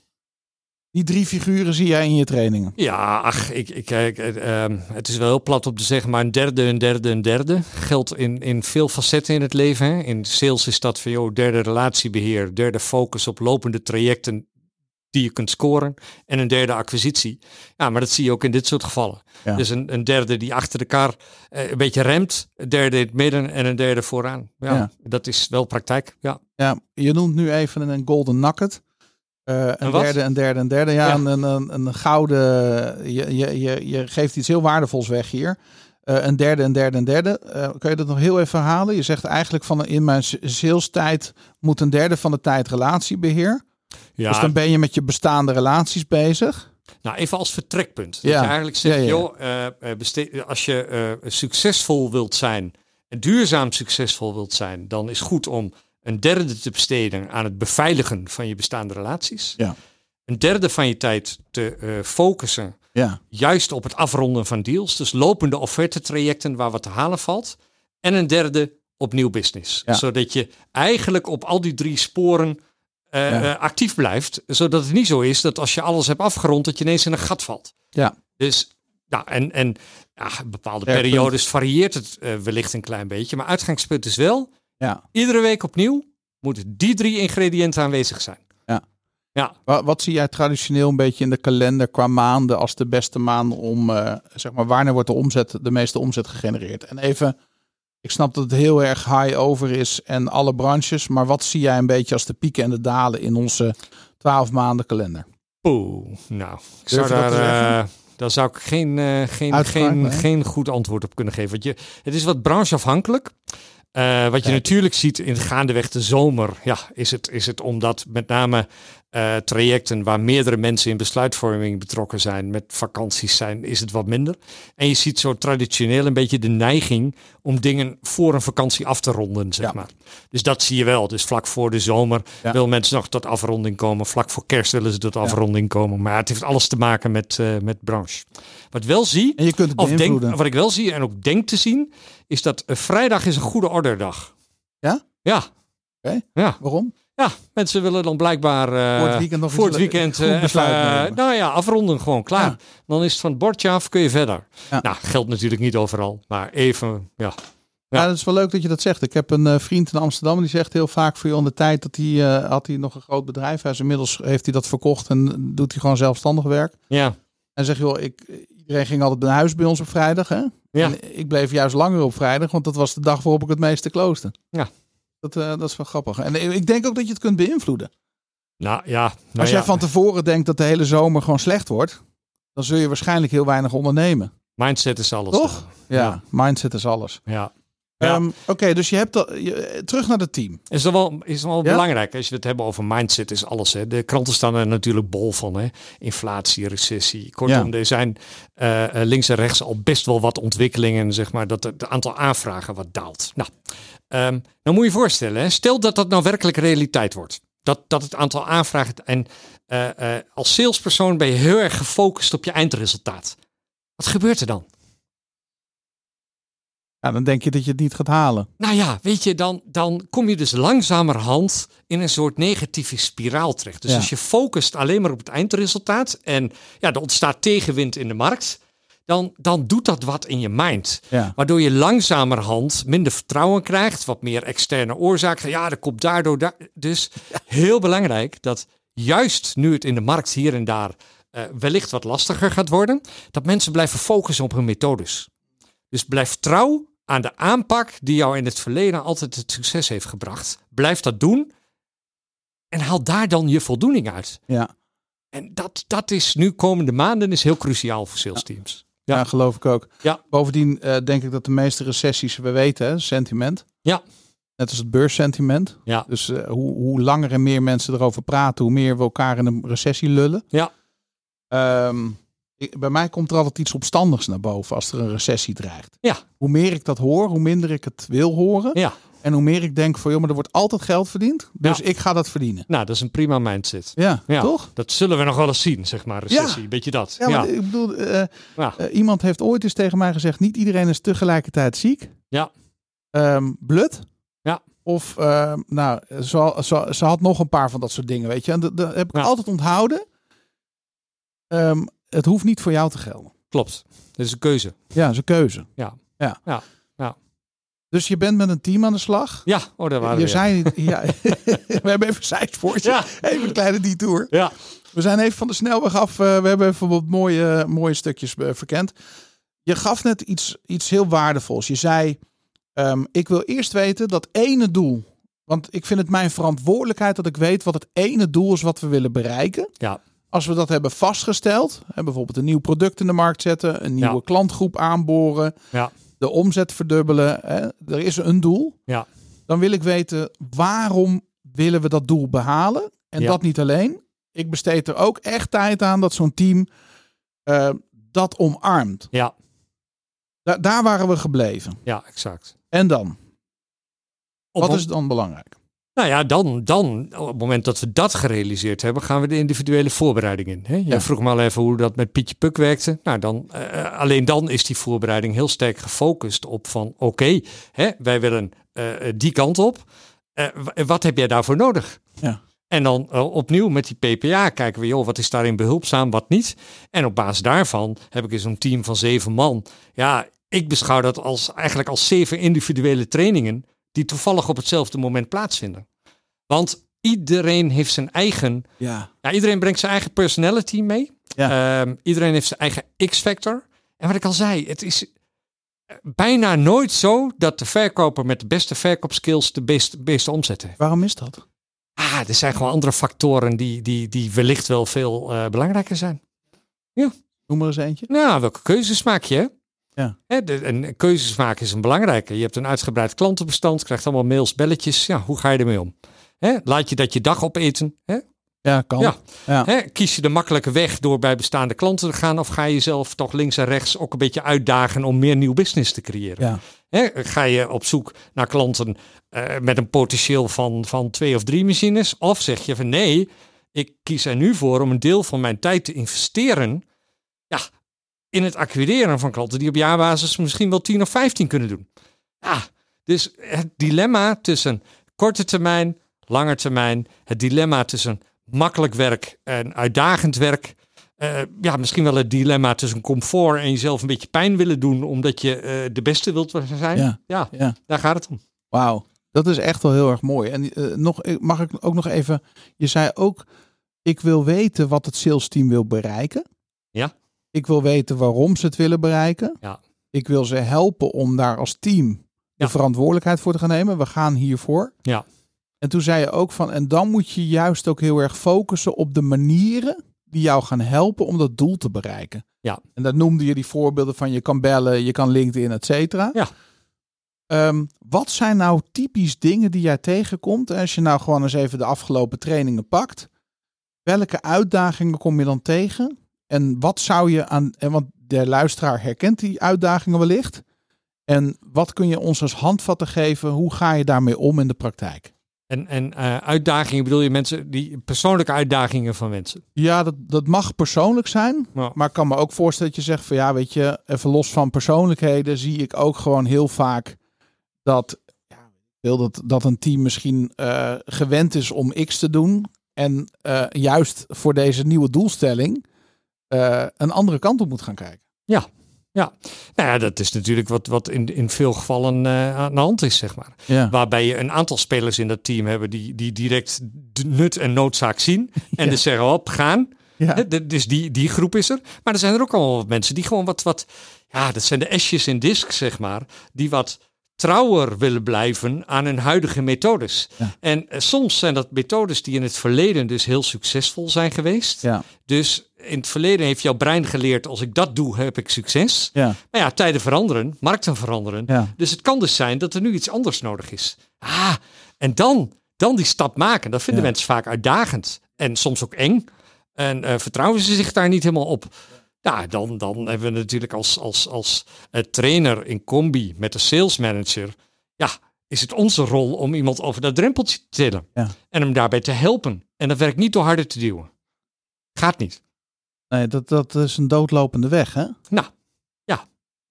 [SPEAKER 1] Die drie figuren zie jij in je trainingen.
[SPEAKER 3] Ja, ach, ik, ik, ik, het, ehm, het is wel heel plat om te zeggen, maar een derde, een derde, een derde geldt in, in veel facetten in het leven. Hè? In sales is dat van, joh, derde relatiebeheer, derde focus op lopende trajecten die je kunt scoren en een derde acquisitie. Ja, maar dat zie je ook in dit soort gevallen.
[SPEAKER 1] Ja.
[SPEAKER 3] Dus een, een derde die achter de kar eh, een beetje remt, een derde in het midden en een derde vooraan. Ja,
[SPEAKER 1] Ja.
[SPEAKER 3] dat is wel praktijk, ja.
[SPEAKER 1] Ja, je noemt nu even een golden nugget. Eh, een,
[SPEAKER 3] Een wat?
[SPEAKER 1] derde, een derde, een derde. Ja,
[SPEAKER 3] Ja.
[SPEAKER 1] Een, een, een, een gouden. Je, je, je, je geeft iets heel waardevols weg hier. Eh, een derde, een derde, een derde. Eh, kun je dat nog heel even herhalen? Je zegt eigenlijk van in mijn s- sales tijd moet een derde van de tijd relatiebeheer.
[SPEAKER 3] ja.
[SPEAKER 1] Dus dan ben je met je bestaande relaties bezig.
[SPEAKER 3] Nou, even als vertrekpunt.
[SPEAKER 1] Ja.
[SPEAKER 3] Dat je eigenlijk zegt,
[SPEAKER 1] Ja, ja, ja.
[SPEAKER 3] joh, eh, eh, beste- als je eh, succesvol wilt zijn, en duurzaam succesvol wilt zijn, dan is goed om een derde te besteden aan het beveiligen van je bestaande relaties.
[SPEAKER 1] Ja.
[SPEAKER 3] Een derde van je tijd te eh, focussen
[SPEAKER 1] Ja,
[SPEAKER 3] juist op het afronden van deals. Dus lopende offertetrajecten waar wat te halen valt. En een derde op nieuw business.
[SPEAKER 1] Ja.
[SPEAKER 3] Zodat je eigenlijk op al die drie sporen eh,
[SPEAKER 1] Ja.
[SPEAKER 3] eh, actief blijft. Zodat het niet zo is dat als je alles hebt afgerond, dat je ineens in een gat valt.
[SPEAKER 1] Ja.
[SPEAKER 3] Dus, nou, en, en ja, bepaalde
[SPEAKER 1] Sterk punt.
[SPEAKER 3] periodes varieert het eh, wellicht een klein beetje. Maar uitgangspunt is wel,
[SPEAKER 1] ja.
[SPEAKER 3] iedere week opnieuw moeten die drie ingrediënten aanwezig zijn.
[SPEAKER 1] Wat, wat zie jij traditioneel een beetje in de kalender qua maanden als de beste maanden om, eh, zeg maar, wanneer wordt de omzet, de meeste omzet gegenereerd? En even, ik snap dat het heel erg high over is en alle branches, maar wat zie jij een beetje als de pieken en de dalen in onze 12 maanden kalender?
[SPEAKER 3] Poeh, nou, ik
[SPEAKER 1] Durf
[SPEAKER 3] zou
[SPEAKER 1] je dat
[SPEAKER 3] daar,
[SPEAKER 1] te zeggen?
[SPEAKER 3] eh, daar zou ik geen, eh, geen,
[SPEAKER 1] Uitgevraagd,
[SPEAKER 3] geen,
[SPEAKER 1] hè?
[SPEAKER 3] geen goed antwoord op kunnen geven. Want je, het is wat brancheafhankelijk. Eh, wat je
[SPEAKER 1] Kijk.
[SPEAKER 3] natuurlijk ziet in gaandeweg de zomer, ja, is het, is het omdat met name eh, trajecten waar meerdere mensen in besluitvorming betrokken zijn, met vakanties zijn, is het wat minder. En je ziet zo traditioneel een beetje de neiging om dingen voor een vakantie af te ronden, zeg
[SPEAKER 1] Ja.
[SPEAKER 3] maar. Dus dat zie je wel. Dus vlak voor de zomer
[SPEAKER 1] Ja.
[SPEAKER 3] wil mensen nog tot afronding komen. Vlak voor kerst willen ze tot afronding komen. Maar het heeft alles te maken met, eh, met branche. Wat ik wel zie,
[SPEAKER 1] En je kunt het
[SPEAKER 3] of denk,
[SPEAKER 1] beïnvloeden.
[SPEAKER 3] wat ik wel zie en ook denk te zien, is dat eh, vrijdag is een goede orderdag.
[SPEAKER 1] Ja?
[SPEAKER 3] Ja.
[SPEAKER 1] Oké.
[SPEAKER 3] Ja.
[SPEAKER 1] Waarom?
[SPEAKER 3] Ja, mensen willen dan blijkbaar eh,
[SPEAKER 1] Voor het weekend nog
[SPEAKER 3] voor
[SPEAKER 1] iets
[SPEAKER 3] het weekend,
[SPEAKER 1] goed
[SPEAKER 3] eh, even,
[SPEAKER 1] besluit
[SPEAKER 3] eh,
[SPEAKER 1] nemen.
[SPEAKER 3] nou ja, afronden gewoon klaar.
[SPEAKER 1] Ja.
[SPEAKER 3] Dan is het van het bordje af, kun je verder.
[SPEAKER 1] Ja.
[SPEAKER 3] Nou, geldt natuurlijk niet overal, maar even, ja.
[SPEAKER 1] Ja. dat is wel leuk dat je dat zegt. Ik heb een eh, vriend in Amsterdam en die zegt heel vaak voor je onder tijd dat hij, eh, had hij nog een groot bedrijf. Hij is inmiddels, heeft hij dat verkocht en doet hij gewoon zelfstandig werk.
[SPEAKER 3] Ja,
[SPEAKER 1] En zeg joh, ik, iedereen ging altijd naar huis bij ons op vrijdag. Hè?
[SPEAKER 3] Ja.
[SPEAKER 1] En ik bleef juist langer op vrijdag, want dat was de dag waarop ik het meeste klooste.
[SPEAKER 3] Ja.
[SPEAKER 1] Dat, eh, dat is wel grappig. En ik denk ook dat je het kunt beïnvloeden.
[SPEAKER 3] Nou ja. Nou
[SPEAKER 1] Als jij
[SPEAKER 3] ja.
[SPEAKER 1] van tevoren denkt dat de hele zomer gewoon slecht wordt, dan zul je waarschijnlijk heel weinig ondernemen.
[SPEAKER 3] Mindset is alles.
[SPEAKER 1] Toch? Ja,
[SPEAKER 3] Ja.
[SPEAKER 1] mindset is alles.
[SPEAKER 3] dan. Ja. Ja.
[SPEAKER 1] Ehm, Oké, dus je hebt dat, je- terug naar het team.
[SPEAKER 3] Is dat wel, is dat wel
[SPEAKER 1] Ja?
[SPEAKER 3] belangrijk als je het hebben over mindset, is alles. Hè? De kranten staan er natuurlijk bol van. Hè? Inflatie, recessie. Kortom, er zijn eh, eh, links en rechts al best wel wat ontwikkelingen, zeg maar, dat het aantal aanvragen wat daalt. Nou, ehm, dan moet je je voorstellen, hè? stel dat dat nou werkelijk realiteit wordt. Dat, dat het aantal aanvragen. En eh, eh, als salespersoon ben je heel erg gefocust op je eindresultaat. Wat gebeurt er dan?
[SPEAKER 1] Ja, dan denk je dat je het niet gaat halen.
[SPEAKER 3] Nou ja, weet je, dan, dan kom je dus langzamerhand in een soort negatieve spiraal terecht. Dus
[SPEAKER 1] Ja.
[SPEAKER 3] als je focust alleen maar op het eindresultaat en ja, er ontstaat tegenwind in de markt, dan, dan doet dat wat in je mind.
[SPEAKER 1] Ja.
[SPEAKER 3] Waardoor je langzamerhand minder vertrouwen krijgt, wat meer externe oorzaken. Ja, dat komt daardoor. da- Dus heel belangrijk dat juist nu het in de markt hier en daar eh, wellicht wat lastiger gaat worden, dat mensen blijven focussen op hun methodes. Dus blijf trouw aan de aanpak die jou in het verleden altijd het succes heeft gebracht. Blijf dat doen en haal daar dan je voldoening uit.
[SPEAKER 1] Ja.
[SPEAKER 3] En dat, dat is nu komende maanden is heel cruciaal voor sales teams.
[SPEAKER 1] Ja,
[SPEAKER 3] Ja.
[SPEAKER 1] geloof ik ook.
[SPEAKER 3] Ja.
[SPEAKER 1] Bovendien eh, denk ik dat de meeste recessies, we weten, hè, sentiment.
[SPEAKER 3] Ja.
[SPEAKER 1] Net als het beurssentiment.
[SPEAKER 3] Ja.
[SPEAKER 1] Dus eh, hoe, hoe langer en meer mensen erover praten, hoe meer we elkaar in een recessie lullen.
[SPEAKER 3] Ja.
[SPEAKER 1] Ehm, ik- bij mij komt er altijd iets opstandigs naar boven als er een recessie dreigt.
[SPEAKER 3] Ja.
[SPEAKER 1] Hoe meer ik dat hoor, hoe minder ik het wil horen.
[SPEAKER 3] Ja.
[SPEAKER 1] En hoe meer ik denk van, joh, maar er wordt altijd geld verdiend. Dus ik ga dat verdienen.
[SPEAKER 3] Nou, dat is een prima mindset.
[SPEAKER 1] Ja,
[SPEAKER 3] Ja.
[SPEAKER 1] toch?
[SPEAKER 3] Dat zullen we nog wel eens zien, zeg maar, recessie. Beetje dat.
[SPEAKER 1] Ja, maar ik bedoel, eh,
[SPEAKER 3] Ja.
[SPEAKER 1] eh, iemand heeft ooit eens tegen mij gezegd: niet iedereen is tegelijkertijd ziek.
[SPEAKER 3] Ja.
[SPEAKER 1] Ehm, blut.
[SPEAKER 3] Ja.
[SPEAKER 1] Of, ehm, nou, ze, ze, ze had nog een paar van dat soort dingen, weet je. En dat, dat heb ik
[SPEAKER 3] Ja.
[SPEAKER 1] altijd onthouden. Ehm, het hoeft niet voor jou te gelden.
[SPEAKER 3] Klopt. Dat is een keuze.
[SPEAKER 1] Ja, dat is een keuze.
[SPEAKER 3] Ja.
[SPEAKER 1] ja.
[SPEAKER 3] Ja, ja.
[SPEAKER 1] Dus je bent met een team aan de slag.
[SPEAKER 3] Ja, oh, daar waren we.
[SPEAKER 1] je
[SPEAKER 3] weer.
[SPEAKER 1] zijn, ja, we hebben even een zijspoortje.
[SPEAKER 3] Ja.
[SPEAKER 1] Even een kleine detour.
[SPEAKER 3] Ja.
[SPEAKER 1] We zijn even van de snelweg af. eh, we hebben even wat mooie, mooie stukjes eh, verkend. Je gaf net iets, iets heel waardevols. Je zei, ehm, ik wil eerst weten dat ene doel. Want ik vind het mijn verantwoordelijkheid dat ik weet wat het ene doel is wat we willen bereiken.
[SPEAKER 3] Ja.
[SPEAKER 1] Als we dat hebben vastgesteld, hè, bijvoorbeeld een nieuw product in de markt zetten, een nieuwe
[SPEAKER 3] Ja.
[SPEAKER 1] klantgroep aanboren,
[SPEAKER 3] Ja.
[SPEAKER 1] de omzet verdubbelen. Hè, er is een doel
[SPEAKER 3] Ja.
[SPEAKER 1] dan wil ik weten waarom willen we dat doel behalen. En
[SPEAKER 3] Ja.
[SPEAKER 1] dat niet alleen. Ik besteed er ook echt tijd aan dat zo'n team eh, dat omarmt.
[SPEAKER 3] Ja.
[SPEAKER 1] Da- daar waren we gebleven.
[SPEAKER 3] ja, exact.
[SPEAKER 1] En dan?
[SPEAKER 3] Op-
[SPEAKER 1] Wat is dan belangrijk?
[SPEAKER 3] Nou ja, dan, dan, op het moment dat we dat gerealiseerd hebben, gaan we de individuele voorbereiding in. Hè? Jij
[SPEAKER 1] Ja.
[SPEAKER 3] vroeg me al even hoe dat met Pietje Puk werkte. Nou, dan, eh, alleen dan is die voorbereiding heel sterk gefocust op van, oké, hè, wij willen eh, eh, die kant op. Eh, w- wat heb jij daarvoor nodig?
[SPEAKER 1] Ja.
[SPEAKER 3] En dan eh, opnieuw met die PPA kijken we, joh, wat is daarin behulpzaam, wat niet. En op basis daarvan heb ik eens een team van zeven man. Ja, ik beschouw dat als, eigenlijk als zeven individuele trainingen die toevallig op hetzelfde moment plaatsvinden. Want iedereen heeft zijn eigen,
[SPEAKER 1] Ja.
[SPEAKER 3] ja, iedereen brengt zijn eigen personality mee. Ehm, iedereen heeft zijn eigen X-factor. En wat ik al zei, het is eh, bijna nooit zo dat de verkoper met de beste verkoopskills de beste, beste omzet heeft.
[SPEAKER 1] Waarom is dat?
[SPEAKER 3] Ah, er zijn gewoon andere factoren die, die, die wellicht wel veel eh, belangrijker zijn.
[SPEAKER 1] Noem maar eens eentje.
[SPEAKER 3] Nou, welke keuzes maak je? hè?
[SPEAKER 1] Ja.
[SPEAKER 3] Hè, de, en keuzes maken is een belangrijke. Je hebt een uitgebreid klantenbestand, krijgt allemaal mails, belletjes. Ja, hoe ga je ermee om? Hè, laat je dat je dag opeten? Hè?
[SPEAKER 1] Ja, kan.
[SPEAKER 3] Ja.
[SPEAKER 1] Ja.
[SPEAKER 3] Hè, kies je de makkelijke weg door bij bestaande klanten te gaan? Of ga je jezelf toch links en rechts ook een beetje uitdagen om meer nieuw business te creëren?
[SPEAKER 1] Ja.
[SPEAKER 3] Hè, ga je op zoek naar klanten eh, met een potentieel van, van twee of drie machines? Of zeg je van nee, ik kies er nu voor om een deel van mijn tijd te investeren ja, in het acquireren van klanten die op jaarbasis misschien wel 10 of 15 kunnen doen. Ja, dus het dilemma tussen korte termijn, lange termijn, het dilemma tussen makkelijk werk en uitdagend werk. Eh, ja, misschien wel het dilemma tussen comfort en jezelf een beetje pijn willen doen omdat je eh, de beste wilt zijn.
[SPEAKER 1] Ja.
[SPEAKER 3] Ja,
[SPEAKER 1] Ja.
[SPEAKER 3] daar gaat het om.
[SPEAKER 1] Wauw. Dat is echt wel heel erg mooi. En eh, nog, eh, mag ik ook nog even... Je zei ook, ik wil weten wat het sales team wil bereiken.
[SPEAKER 3] Ja.
[SPEAKER 1] Ik wil weten waarom ze het willen bereiken.
[SPEAKER 3] Ja.
[SPEAKER 1] Ik wil ze helpen om daar als team de
[SPEAKER 3] Ja.
[SPEAKER 1] verantwoordelijkheid voor te gaan nemen. We gaan hiervoor.
[SPEAKER 3] Ja.
[SPEAKER 1] En toen zei je ook van, en dan moet je juist ook heel erg focussen op de manieren die jou gaan helpen om dat doel te bereiken.
[SPEAKER 3] Ja.
[SPEAKER 1] En dat noemde je die voorbeelden van je kan bellen, je kan LinkedIn, et cetera.
[SPEAKER 3] Ja.
[SPEAKER 1] Ehm, wat zijn nou typisch dingen die jij tegenkomt? Als je nou gewoon eens even de afgelopen trainingen pakt. Welke uitdagingen kom je dan tegen? En wat zou je aan. En want de luisteraar herkent die uitdagingen wellicht. En wat kun je ons als handvatten geven? Hoe ga je daarmee om in de praktijk?
[SPEAKER 3] En, en eh, uitdagingen bedoel je mensen, die persoonlijke uitdagingen van mensen.
[SPEAKER 1] Ja, dat, dat mag persoonlijk zijn.
[SPEAKER 3] Ja.
[SPEAKER 1] Maar ik kan me ook voorstellen dat je zegt van ja, weet je, even los van persoonlijkheden zie ik ook gewoon heel vaak dat, ja, wil dat, dat een team misschien eh, gewend is om X te doen. En eh, juist voor deze nieuwe doelstelling eh, een andere kant op moet gaan kijken.
[SPEAKER 3] Nou ja, dat is natuurlijk wat, wat in, in veel gevallen eh, aan de hand is, zeg maar.
[SPEAKER 1] Ja.
[SPEAKER 3] Waarbij je een aantal spelers in dat team hebben die, die direct de nut en noodzaak zien. En dus zeggen, op, gaan.
[SPEAKER 1] Ja.
[SPEAKER 3] Hè, de- dus die, die groep is er. Maar er zijn er ook allemaal wat mensen die gewoon wat, wat... Ja, dat zijn de esjes in disk, zeg maar. Die wat trouwer willen blijven aan hun huidige methodes.
[SPEAKER 1] Ja.
[SPEAKER 3] En eh, soms zijn dat methodes die in het verleden dus heel succesvol zijn geweest.
[SPEAKER 1] Ja.
[SPEAKER 3] Dus in het verleden heeft jouw brein geleerd... als ik dat doe, heb ik succes.
[SPEAKER 1] Ja.
[SPEAKER 3] Maar ja, tijden veranderen, markten veranderen.
[SPEAKER 1] Ja.
[SPEAKER 3] Dus het kan dus zijn dat er nu iets anders nodig is. Ah, en dan, dan die stap maken. Dat vinden
[SPEAKER 1] Ja.
[SPEAKER 3] mensen vaak uitdagend. En soms ook eng. En eh, vertrouwen ze zich daar niet helemaal op. Ja, dan, dan hebben we natuurlijk als, als, als eh, trainer in combi met de sales manager. Ja, is het onze rol om iemand over dat drempeltje te tillen.
[SPEAKER 1] Ja.
[SPEAKER 3] En hem daarbij te helpen. En dat werkt niet door harder te duwen. Gaat niet.
[SPEAKER 1] Nee, dat, dat is een doodlopende weg. Hè?
[SPEAKER 3] Nou,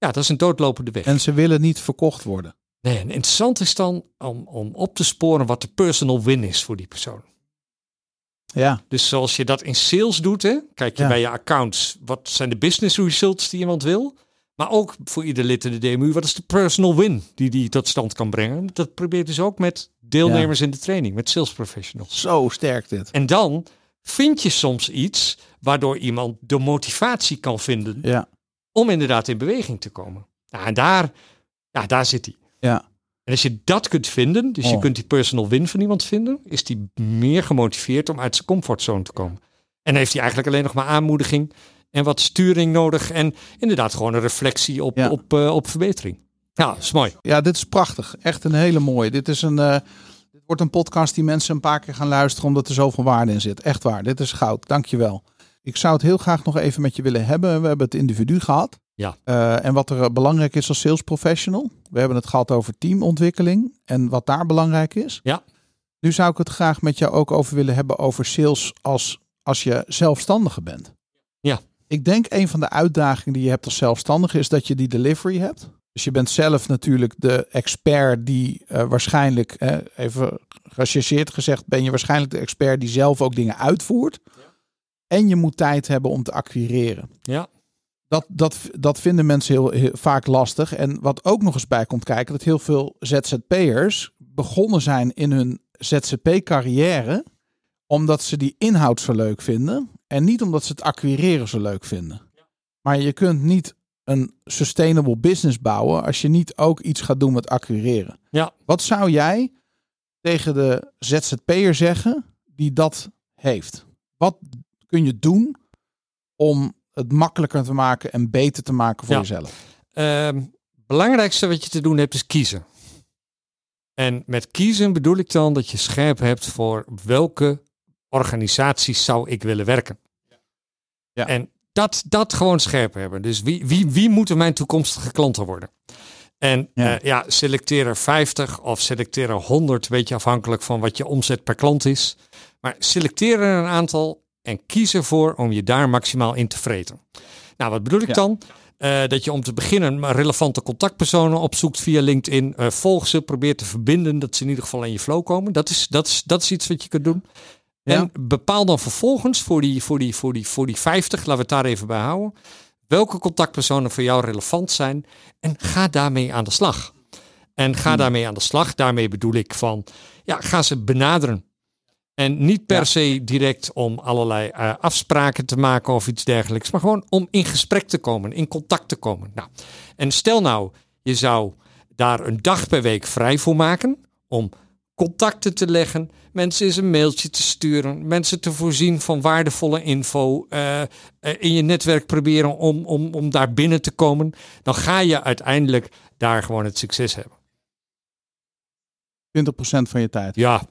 [SPEAKER 3] Ja, dat is een doodlopende weg.
[SPEAKER 1] En ze willen niet verkocht worden.
[SPEAKER 3] Nee, en interessant is dan om, om op te sporen wat de personal win is voor die persoon.
[SPEAKER 1] Ja,
[SPEAKER 3] Dus zoals je dat in sales doet, hè, kijk je
[SPEAKER 1] Ja.
[SPEAKER 3] bij je accounts, wat zijn de business results die iemand wil? Maar ook voor ieder lid in de DMU, wat is de personal win die die tot stand kan brengen? Dat probeert dus ook met deelnemers in de training, met sales professionals.
[SPEAKER 1] zo sterk dit.
[SPEAKER 3] En dan vind je soms iets waardoor iemand de motivatie kan vinden
[SPEAKER 1] Ja.
[SPEAKER 3] om inderdaad in beweging te komen. Nou, en daar, ja, daar zit hij.
[SPEAKER 1] Ja.
[SPEAKER 3] En als je dat kunt vinden, dus je
[SPEAKER 1] Oh.
[SPEAKER 3] kunt die personal win van iemand vinden, is die meer gemotiveerd om uit zijn comfortzone te komen. En heeft hij eigenlijk alleen nog maar aanmoediging en wat sturing nodig en inderdaad gewoon een reflectie op,
[SPEAKER 1] Ja.
[SPEAKER 3] op, eh, op verbetering. Ja, dat is mooi.
[SPEAKER 1] Ja, dit is prachtig. Echt een hele mooie. Dit, is een, eh, dit wordt een podcast die mensen een paar keer gaan luisteren omdat er zoveel waarde in zit. Echt waar. Dit is goud. Dank je wel. Ik zou het heel graag nog even met je willen hebben. We hebben het individu gehad.
[SPEAKER 3] Ja.
[SPEAKER 1] Eh, en wat er eh, belangrijk is als sales professional. We hebben het gehad over teamontwikkeling en wat daar belangrijk is.
[SPEAKER 3] Ja.
[SPEAKER 1] Nu zou ik het graag met jou ook over willen hebben over sales als, als je zelfstandige bent.
[SPEAKER 3] Ja.
[SPEAKER 1] Ik denk een van de uitdagingen die je hebt als zelfstandige is dat je die delivery hebt. Dus je bent zelf natuurlijk de expert die eh, waarschijnlijk, eh, even gechargeerd gezegd, ben je waarschijnlijk de expert die zelf ook dingen uitvoert. En je moet tijd hebben om te acquireren.
[SPEAKER 3] Ja.
[SPEAKER 1] Dat, dat, dat vinden mensen heel, heel vaak lastig. En wat ook nog eens bij komt kijken, dat heel veel ZZP'ers begonnen zijn in hun ZZP-carrière omdat ze die inhoud zo leuk vinden en niet omdat ze het acquireren zo leuk vinden. Maar je kunt niet een sustainable business bouwen als je niet ook iets gaat doen met accureren.
[SPEAKER 3] Ja.
[SPEAKER 1] Wat zou jij tegen de ZZP'er zeggen die dat heeft? Wat kun je doen om het makkelijker te maken en beter te maken voor
[SPEAKER 3] Ja.
[SPEAKER 1] jezelf?
[SPEAKER 3] Ehm, belangrijkste wat je te doen hebt is kiezen. En met kiezen bedoel ik dan dat je scherp hebt voor welke organisaties zou ik willen werken.
[SPEAKER 1] Ja.
[SPEAKER 3] En dat, dat gewoon scherp hebben. Dus wie, wie, wie moeten mijn toekomstige klanten worden? En
[SPEAKER 1] Ja.
[SPEAKER 3] ja. ja, selecteer er 50 of selecteer er 100, een beetje afhankelijk van wat je omzet per klant is. Maar selecteer er een aantal en kies ervoor om je daar maximaal in te vreten. Nou, wat bedoel ik
[SPEAKER 1] Ja.
[SPEAKER 3] dan? Eh, dat je om te beginnen maar relevante contactpersonen opzoekt via LinkedIn. Eh, volg ze, probeer te verbinden dat ze in ieder geval in je flow komen. Dat is, dat is, dat is iets wat je kunt doen.
[SPEAKER 1] Ja.
[SPEAKER 3] En bepaal dan vervolgens voor die, voor, die, voor, die, voor die 50, laten we het daar even bij houden. Welke contactpersonen voor jou relevant zijn. En ga daarmee aan de slag. En ga daarmee aan de slag. Daarmee bedoel ik van, ja, ga ze benaderen. En niet per se direct om allerlei eh, afspraken te maken of iets dergelijks. Maar gewoon om in gesprek te komen, in contact te komen. Nou, en stel nou, je zou daar een dag per week vrij voor maken. Om contacten te leggen, mensen eens een mailtje te sturen. Mensen te voorzien van waardevolle info. eh, eh, in je netwerk proberen om, om, om daar binnen te komen. Dan ga je uiteindelijk daar gewoon het succes hebben.
[SPEAKER 1] 20% van je tijd.
[SPEAKER 3] Ja,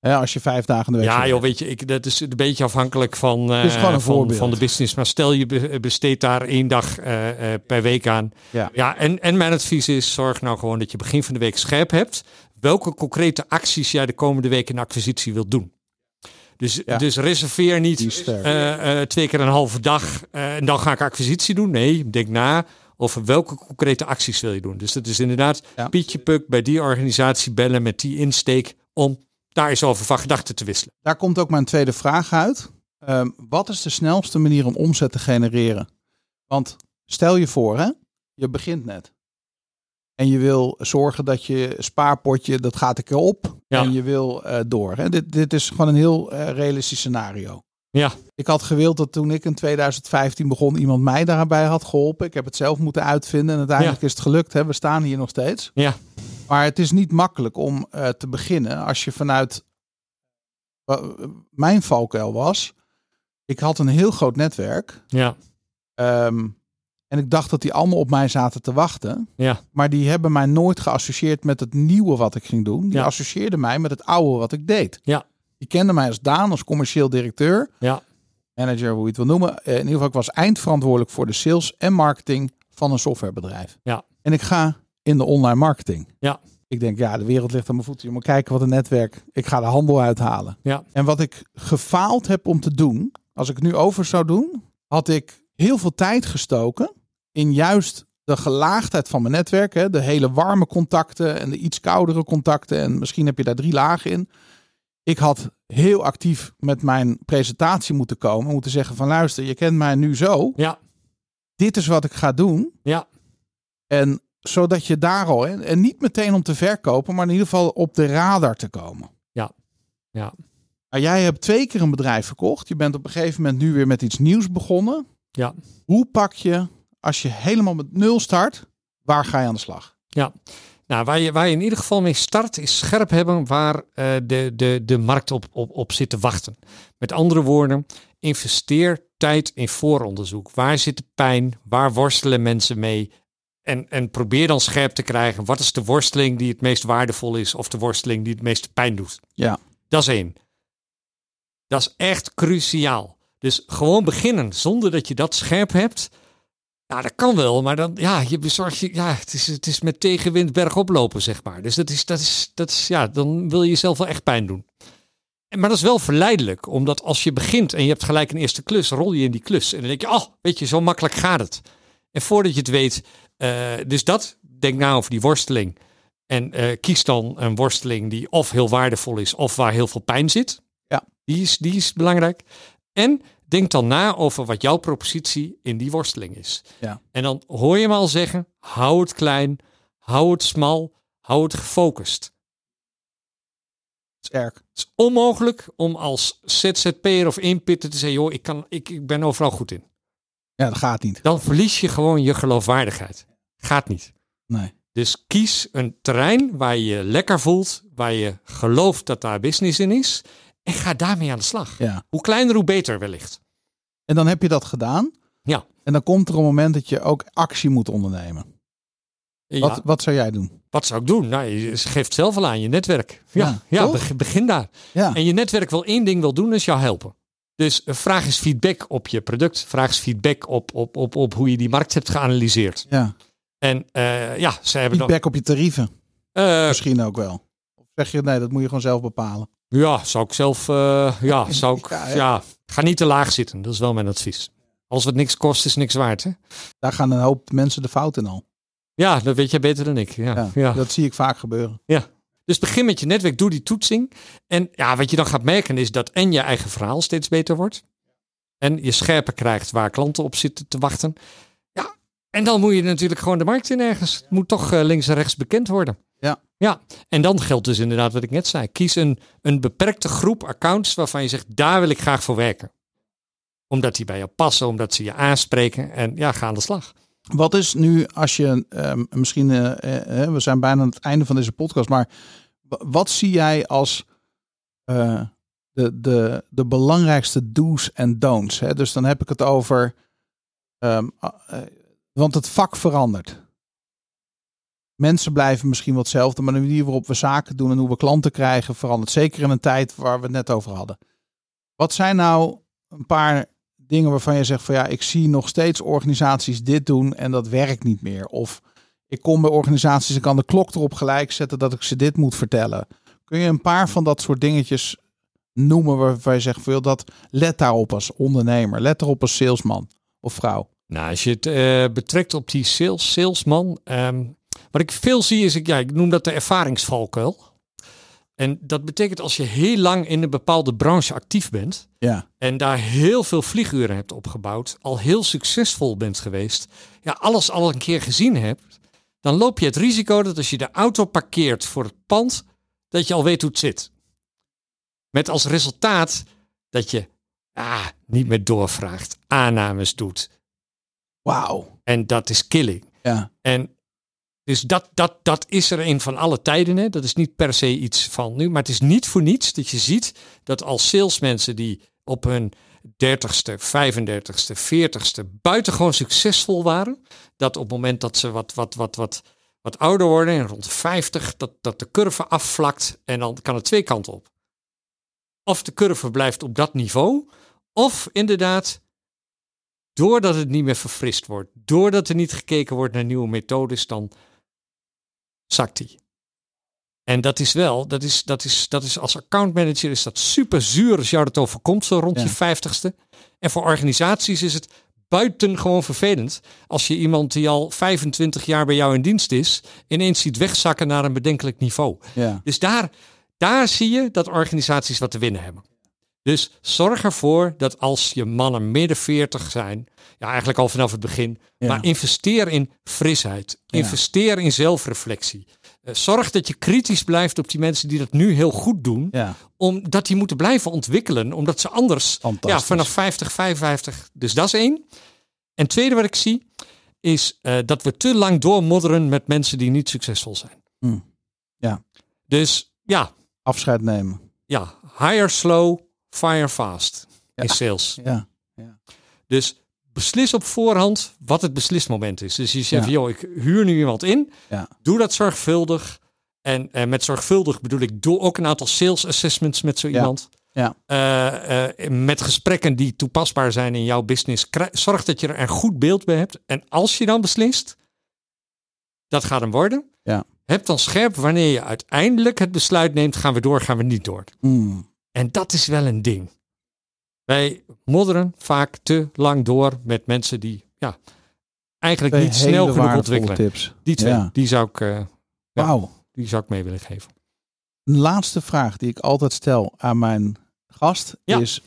[SPEAKER 1] Hè, als je vijf dagen in de week
[SPEAKER 3] Ja,
[SPEAKER 1] zit.
[SPEAKER 3] joh, weet je, ik, dat is een beetje afhankelijk van, eh,
[SPEAKER 1] is gewoon een
[SPEAKER 3] van,
[SPEAKER 1] voorbeeld.
[SPEAKER 3] van de business. Maar stel je be- eh, besteedt daar één dag eh, eh, per week aan.
[SPEAKER 1] Ja.
[SPEAKER 3] en, en mijn advies is: zorg nou gewoon dat je begin van de week scherp hebt. Welke concrete acties jij de komende week in acquisitie wilt doen. Dus,
[SPEAKER 1] Ja.
[SPEAKER 3] dus reserveer
[SPEAKER 1] Die
[SPEAKER 3] niet
[SPEAKER 1] is sterk.
[SPEAKER 3] eh, eh, twee keer een halve dag eh, en dan ga ik acquisitie doen. Nee, denk na over welke concrete acties wil je doen. Dus dat is inderdaad
[SPEAKER 1] Ja.
[SPEAKER 3] Pietje Puk bij die organisatie bellen met die insteek om daar eens over van gedachten te wisselen.
[SPEAKER 1] Daar komt ook mijn tweede vraag uit. Ehm, wat is de snelste manier om omzet te genereren? Want stel je voor, hè, je begint net. En je wil zorgen dat je spaarpotje, dat gaat een keer op.
[SPEAKER 3] Ja.
[SPEAKER 1] En je wil eh, door. Hè. Dit, dit is gewoon een heel eh, realistisch scenario.
[SPEAKER 3] Ja.
[SPEAKER 1] Ik had gewild dat toen ik in 2015 begon, iemand mij daarbij had geholpen. Ik heb het zelf moeten uitvinden en uiteindelijk is het gelukt. Hè. We staan hier nog steeds.
[SPEAKER 3] Ja.
[SPEAKER 1] Maar het is niet makkelijk om eh, te beginnen als je vanuit wa- mijn valkuil was. Ik had een heel groot netwerk.
[SPEAKER 3] Ja,
[SPEAKER 1] ehm, en ik dacht dat die allemaal op mij zaten te wachten.
[SPEAKER 3] Ja.
[SPEAKER 1] Maar die hebben mij nooit geassocieerd met het nieuwe wat ik ging doen. Die
[SPEAKER 3] Ja.
[SPEAKER 1] associeerden mij met het oude wat ik deed.
[SPEAKER 3] Ja.
[SPEAKER 1] Die kenden mij als Daan, als commercieel directeur.
[SPEAKER 3] Ja.
[SPEAKER 1] Manager, hoe je het wil noemen. Eh, in ieder geval, ik was eindverantwoordelijk voor de sales en marketing van een softwarebedrijf.
[SPEAKER 3] Ja.
[SPEAKER 1] En ik ga in de online marketing.
[SPEAKER 3] Ja.
[SPEAKER 1] Ik denk, ja, de wereld ligt aan mijn voeten. Je moet kijken wat een netwerk. Ik ga de handel uithalen.
[SPEAKER 3] Ja.
[SPEAKER 1] En wat ik gefaald heb om te doen, als ik het nu over zou doen, had ik heel veel tijd gestoken in juist de gelaagdheid van mijn netwerk. Hè? De hele warme contacten en de iets koudere contacten. En misschien heb je daar drie lagen in. Ik had heel actief met mijn presentatie moeten komen. Moeten zeggen van luister, je kent mij nu zo.
[SPEAKER 3] Ja.
[SPEAKER 1] Dit is wat ik ga doen.
[SPEAKER 3] Ja.
[SPEAKER 1] En zodat je daar al, en en niet meteen om te verkopen, maar in ieder geval op de radar te komen.
[SPEAKER 3] Ja. Ja.
[SPEAKER 1] Maar jij hebt twee keer een bedrijf verkocht. Je bent op een gegeven moment nu weer met iets nieuws begonnen.
[SPEAKER 3] Ja.
[SPEAKER 1] Hoe pak je, als je helemaal met nul start, waar ga je aan de slag?
[SPEAKER 3] nou, waar je, waar je in ieder geval mee start, is scherp hebben waar eh, de, de, de markt op, op, op zit te wachten. Met andere woorden, investeer tijd in vooronderzoek. Waar zit de pijn? Waar worstelen mensen mee? En, en probeer dan scherp te krijgen. Wat is de worsteling die het meest waardevol is? Of de worsteling die het meeste pijn doet?
[SPEAKER 1] Ja.
[SPEAKER 3] Dat is één. Dat is echt cruciaal. Dus gewoon beginnen zonder dat je dat scherp hebt. Ja, dat kan wel, maar dan, ja, je bezorgt je, ja, het is, het is met tegenwind bergop lopen, zeg maar. Dus dat is, dat is, dat is, ja, dan wil je jezelf wel echt pijn doen. En- Maar dat is wel verleidelijk, omdat als je begint en je hebt gelijk een eerste klus, rol je in die klus. En dan denk je, oh, weet je, zo makkelijk gaat het. En voordat je het weet, eh, dus dat, denk na over die worsteling. En eh, kies dan een worsteling die of heel waardevol is, of waar heel veel pijn zit.
[SPEAKER 1] Ja.
[SPEAKER 3] Die is, die is belangrijk. En denk dan na over wat jouw propositie in die worsteling is.
[SPEAKER 1] Ja.
[SPEAKER 3] En dan hoor je me al zeggen, hou het klein, hou het smal, hou het gefocust.
[SPEAKER 1] Sterk.
[SPEAKER 3] Het is onmogelijk om als ZZP'er of inpitter te zeggen, joh, ik, kan, ik, ik ben overal goed in.
[SPEAKER 1] Ja, dat gaat niet.
[SPEAKER 3] Dan verlies je gewoon je geloofwaardigheid. Gaat niet.
[SPEAKER 1] Nee.
[SPEAKER 3] Dus kies een terrein waar je je lekker voelt, waar je gelooft dat daar business in is. En ga daarmee aan de slag.
[SPEAKER 1] Ja.
[SPEAKER 3] Hoe kleiner, hoe beter wellicht.
[SPEAKER 1] En dan heb je dat gedaan.
[SPEAKER 3] Ja.
[SPEAKER 1] En dan komt er een moment dat je ook actie moet ondernemen.
[SPEAKER 3] Ja,
[SPEAKER 1] Wat,
[SPEAKER 3] wat,
[SPEAKER 1] wat zou jij doen?
[SPEAKER 3] zou ik doen? Nou, je ze geeft zelf al aan je netwerk.
[SPEAKER 1] Ja,
[SPEAKER 3] Ja, ja,
[SPEAKER 1] toch?
[SPEAKER 3] beg- begin daar.
[SPEAKER 1] Ja.
[SPEAKER 3] En je netwerk wil één ding wil doen, is jou helpen. Dus eh, vraag eens feedback op je product. Vraag eens feedback op, op, op, op hoe je die markt hebt geanalyseerd.
[SPEAKER 1] ja.
[SPEAKER 3] En eh, ja, ze hebben dan...
[SPEAKER 1] Feedback op je tarieven
[SPEAKER 3] Eh,
[SPEAKER 1] misschien ook wel. Of zeg je, nee, dat moet je gewoon zelf bepalen.
[SPEAKER 3] Ja, zou ik zelf. eh, ja, zou ik.
[SPEAKER 1] Ja,
[SPEAKER 3] Ja,
[SPEAKER 1] hè?
[SPEAKER 3] ga niet te laag zitten. Dat is wel mijn advies. Als het niks kost, is niks waard. Hè?
[SPEAKER 1] Daar gaan een hoop mensen de fout in al.
[SPEAKER 3] Ja, dat weet jij beter dan ik. Ja,
[SPEAKER 1] Ja,
[SPEAKER 3] ja.
[SPEAKER 1] Dat zie ik vaak gebeuren.
[SPEAKER 3] Dus begin met je netwerk, doe die toetsing. En ja, wat je dan gaat merken is dat en je eigen verhaal steeds beter wordt. En je scherper krijgt waar klanten op zitten te wachten. Ja, en dan moet je natuurlijk gewoon de markt in ergens. Het moet toch eh, links en rechts bekend worden.
[SPEAKER 1] Ja.
[SPEAKER 3] Ja, en dan geldt dus inderdaad wat ik net zei. Kies een, een beperkte groep accounts waarvan je zegt, daar wil ik graag voor werken. Omdat die bij jou passen, omdat ze je aanspreken en ja, ga aan de slag.
[SPEAKER 1] Wat is nu als je ehm, misschien, eh, eh, we zijn bijna aan het einde van deze podcast, maar wa- wat zie jij als eh, de, de, de belangrijkste do's en don'ts? Hè? Dus dan heb ik het over, ehm, a- eh, want het vak verandert. Mensen blijven misschien wel hetzelfde, maar de manier waarop we zaken doen en hoe we klanten krijgen verandert. Zeker in een tijd waar we het net over hadden. Wat zijn nou een paar dingen waarvan je zegt van ja, ik zie nog steeds organisaties dit doen en dat werkt niet meer. Of ik kom bij organisaties en kan de klok erop gelijk zetten dat ik ze dit moet vertellen. Kun je een paar van dat soort dingetjes noemen waarvan je zegt van joh, dat let daarop als ondernemer, let erop als salesman of vrouw.
[SPEAKER 3] Nou, als je het eh, betrekt op die sales, salesman. ehm, wat ik veel zie is, ik, ja, ik noem dat de ervaringsvalkuil. En dat betekent als je heel lang in een bepaalde branche actief bent,
[SPEAKER 1] Ja,
[SPEAKER 3] en daar heel veel vlieguren hebt opgebouwd, al heel succesvol bent geweest, ja, alles al een keer gezien hebt, dan loop je het risico dat als je de auto parkeert voor het pand, dat je al weet hoe het zit. Met als resultaat dat je ah, niet meer doorvraagt, aannames doet.
[SPEAKER 1] wauw.
[SPEAKER 3] En dat is killing.
[SPEAKER 1] Ja,
[SPEAKER 3] En dus dat, dat, dat is er een van alle tijden. Hè? Dat is niet per se iets van nu. Maar het is niet voor niets dat je ziet dat als salesmensen die op hun 30ste, 35ste, 40ste buitengewoon succesvol waren, dat op het moment dat ze wat, wat, wat, wat, wat ouder worden en rond 50, dat, dat de curve afvlakt en dan kan het twee kanten op. Of de curve blijft op dat niveau, of inderdaad doordat het niet meer verfrist wordt, doordat er niet gekeken wordt naar nieuwe methodes, dan zakt die. En dat is wel, dat is, dat is, dat is als accountmanager is dat super zuur als jou dat overkomt zo rond
[SPEAKER 1] Ja.
[SPEAKER 3] je vijftigste. En voor organisaties is het buitengewoon vervelend als je iemand die al 25 jaar bij jou in dienst is, ineens ziet wegzakken naar een bedenkelijk niveau.
[SPEAKER 1] ja.
[SPEAKER 3] Dus daar, daar zie je dat organisaties wat te winnen hebben. Dus zorg ervoor dat als je mannen midden 40 zijn, ja, eigenlijk al vanaf het begin,
[SPEAKER 1] Ja.
[SPEAKER 3] maar investeer in frisheid.
[SPEAKER 1] Ja.
[SPEAKER 3] Investeer in zelfreflectie. Eh, Zorg dat je kritisch blijft op die mensen die dat nu heel goed doen,
[SPEAKER 1] ja.
[SPEAKER 3] omdat die moeten blijven ontwikkelen, omdat ze anders ja,
[SPEAKER 1] Fantastisch.
[SPEAKER 3] vanaf 50, 55. Dus dat is één. En tweede wat ik zie, is eh, dat we te lang doormodderen met mensen die niet succesvol zijn.
[SPEAKER 1] Hmm. Ja.
[SPEAKER 3] Dus ja,
[SPEAKER 1] Afscheid nemen.
[SPEAKER 3] ja, hire slow, fire fast
[SPEAKER 1] Ja.
[SPEAKER 3] in sales.
[SPEAKER 1] Ja,
[SPEAKER 3] Dus beslis op voorhand wat het beslismoment is. Dus je zegt,
[SPEAKER 1] Ja.
[SPEAKER 3] joh, ik huur nu iemand in.
[SPEAKER 1] Ja.
[SPEAKER 3] Doe dat zorgvuldig. En eh, met zorgvuldig bedoel ik, doe ook een aantal sales assessments met zo
[SPEAKER 1] Ja.
[SPEAKER 3] iemand.
[SPEAKER 1] Ja.
[SPEAKER 3] Eh, eh, met gesprekken die toepasbaar zijn in jouw business. Krij- Zorg dat je er een goed beeld bij hebt. En als je dan beslist, dat gaat hem worden.
[SPEAKER 1] Ja.
[SPEAKER 3] Heb dan scherp wanneer je uiteindelijk het besluit neemt, gaan we door, gaan we niet door.
[SPEAKER 1] Hmm.
[SPEAKER 3] En dat is wel een ding. Wij modderen vaak te lang door met mensen die ja, eigenlijk
[SPEAKER 1] Twee
[SPEAKER 3] niet snel
[SPEAKER 1] hele
[SPEAKER 3] genoeg
[SPEAKER 1] waardevolle
[SPEAKER 3] ontwikkelen.
[SPEAKER 1] tips.
[SPEAKER 3] Die twee,
[SPEAKER 1] Ja.
[SPEAKER 3] die, zou ik, eh, Ja.
[SPEAKER 1] Wauw.
[SPEAKER 3] die zou ik mee willen geven.
[SPEAKER 1] Een laatste vraag die ik altijd stel aan mijn gast
[SPEAKER 3] Ja.
[SPEAKER 1] is: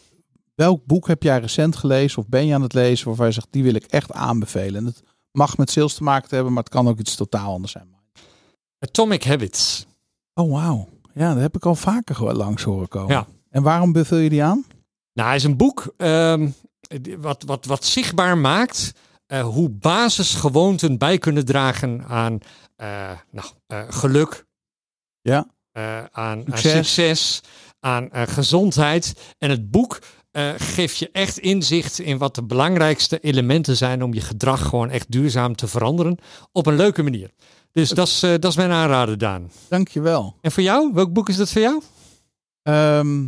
[SPEAKER 1] welk boek heb jij recent gelezen of ben je aan het lezen waarvan je zegt die wil ik echt aanbevelen? En het mag met sales te maken hebben, maar het kan ook iets totaal anders zijn.
[SPEAKER 3] Atomic Habits.
[SPEAKER 1] Oh wauw, ja, dat heb ik al vaker gewoon langs horen komen.
[SPEAKER 3] Ja.
[SPEAKER 1] En waarom beveel je die aan?
[SPEAKER 3] Nou, hij is een boek ehm, die- wat, wat, wat zichtbaar maakt eh, hoe basisgewoonten bij kunnen dragen aan eh, nou, eh, geluk,
[SPEAKER 1] Ja.
[SPEAKER 3] eh, aan- aan,
[SPEAKER 1] Succes.
[SPEAKER 3] succes, aan eh, gezondheid. En het boek eh, geeft je echt inzicht in wat de belangrijkste elementen zijn om je gedrag gewoon echt duurzaam te veranderen op een leuke manier. Dus dat is, eh, dat is mijn aanrader, Daan.
[SPEAKER 1] Dankjewel.
[SPEAKER 3] En voor jou? Welk boek is dat voor jou?
[SPEAKER 1] Ehm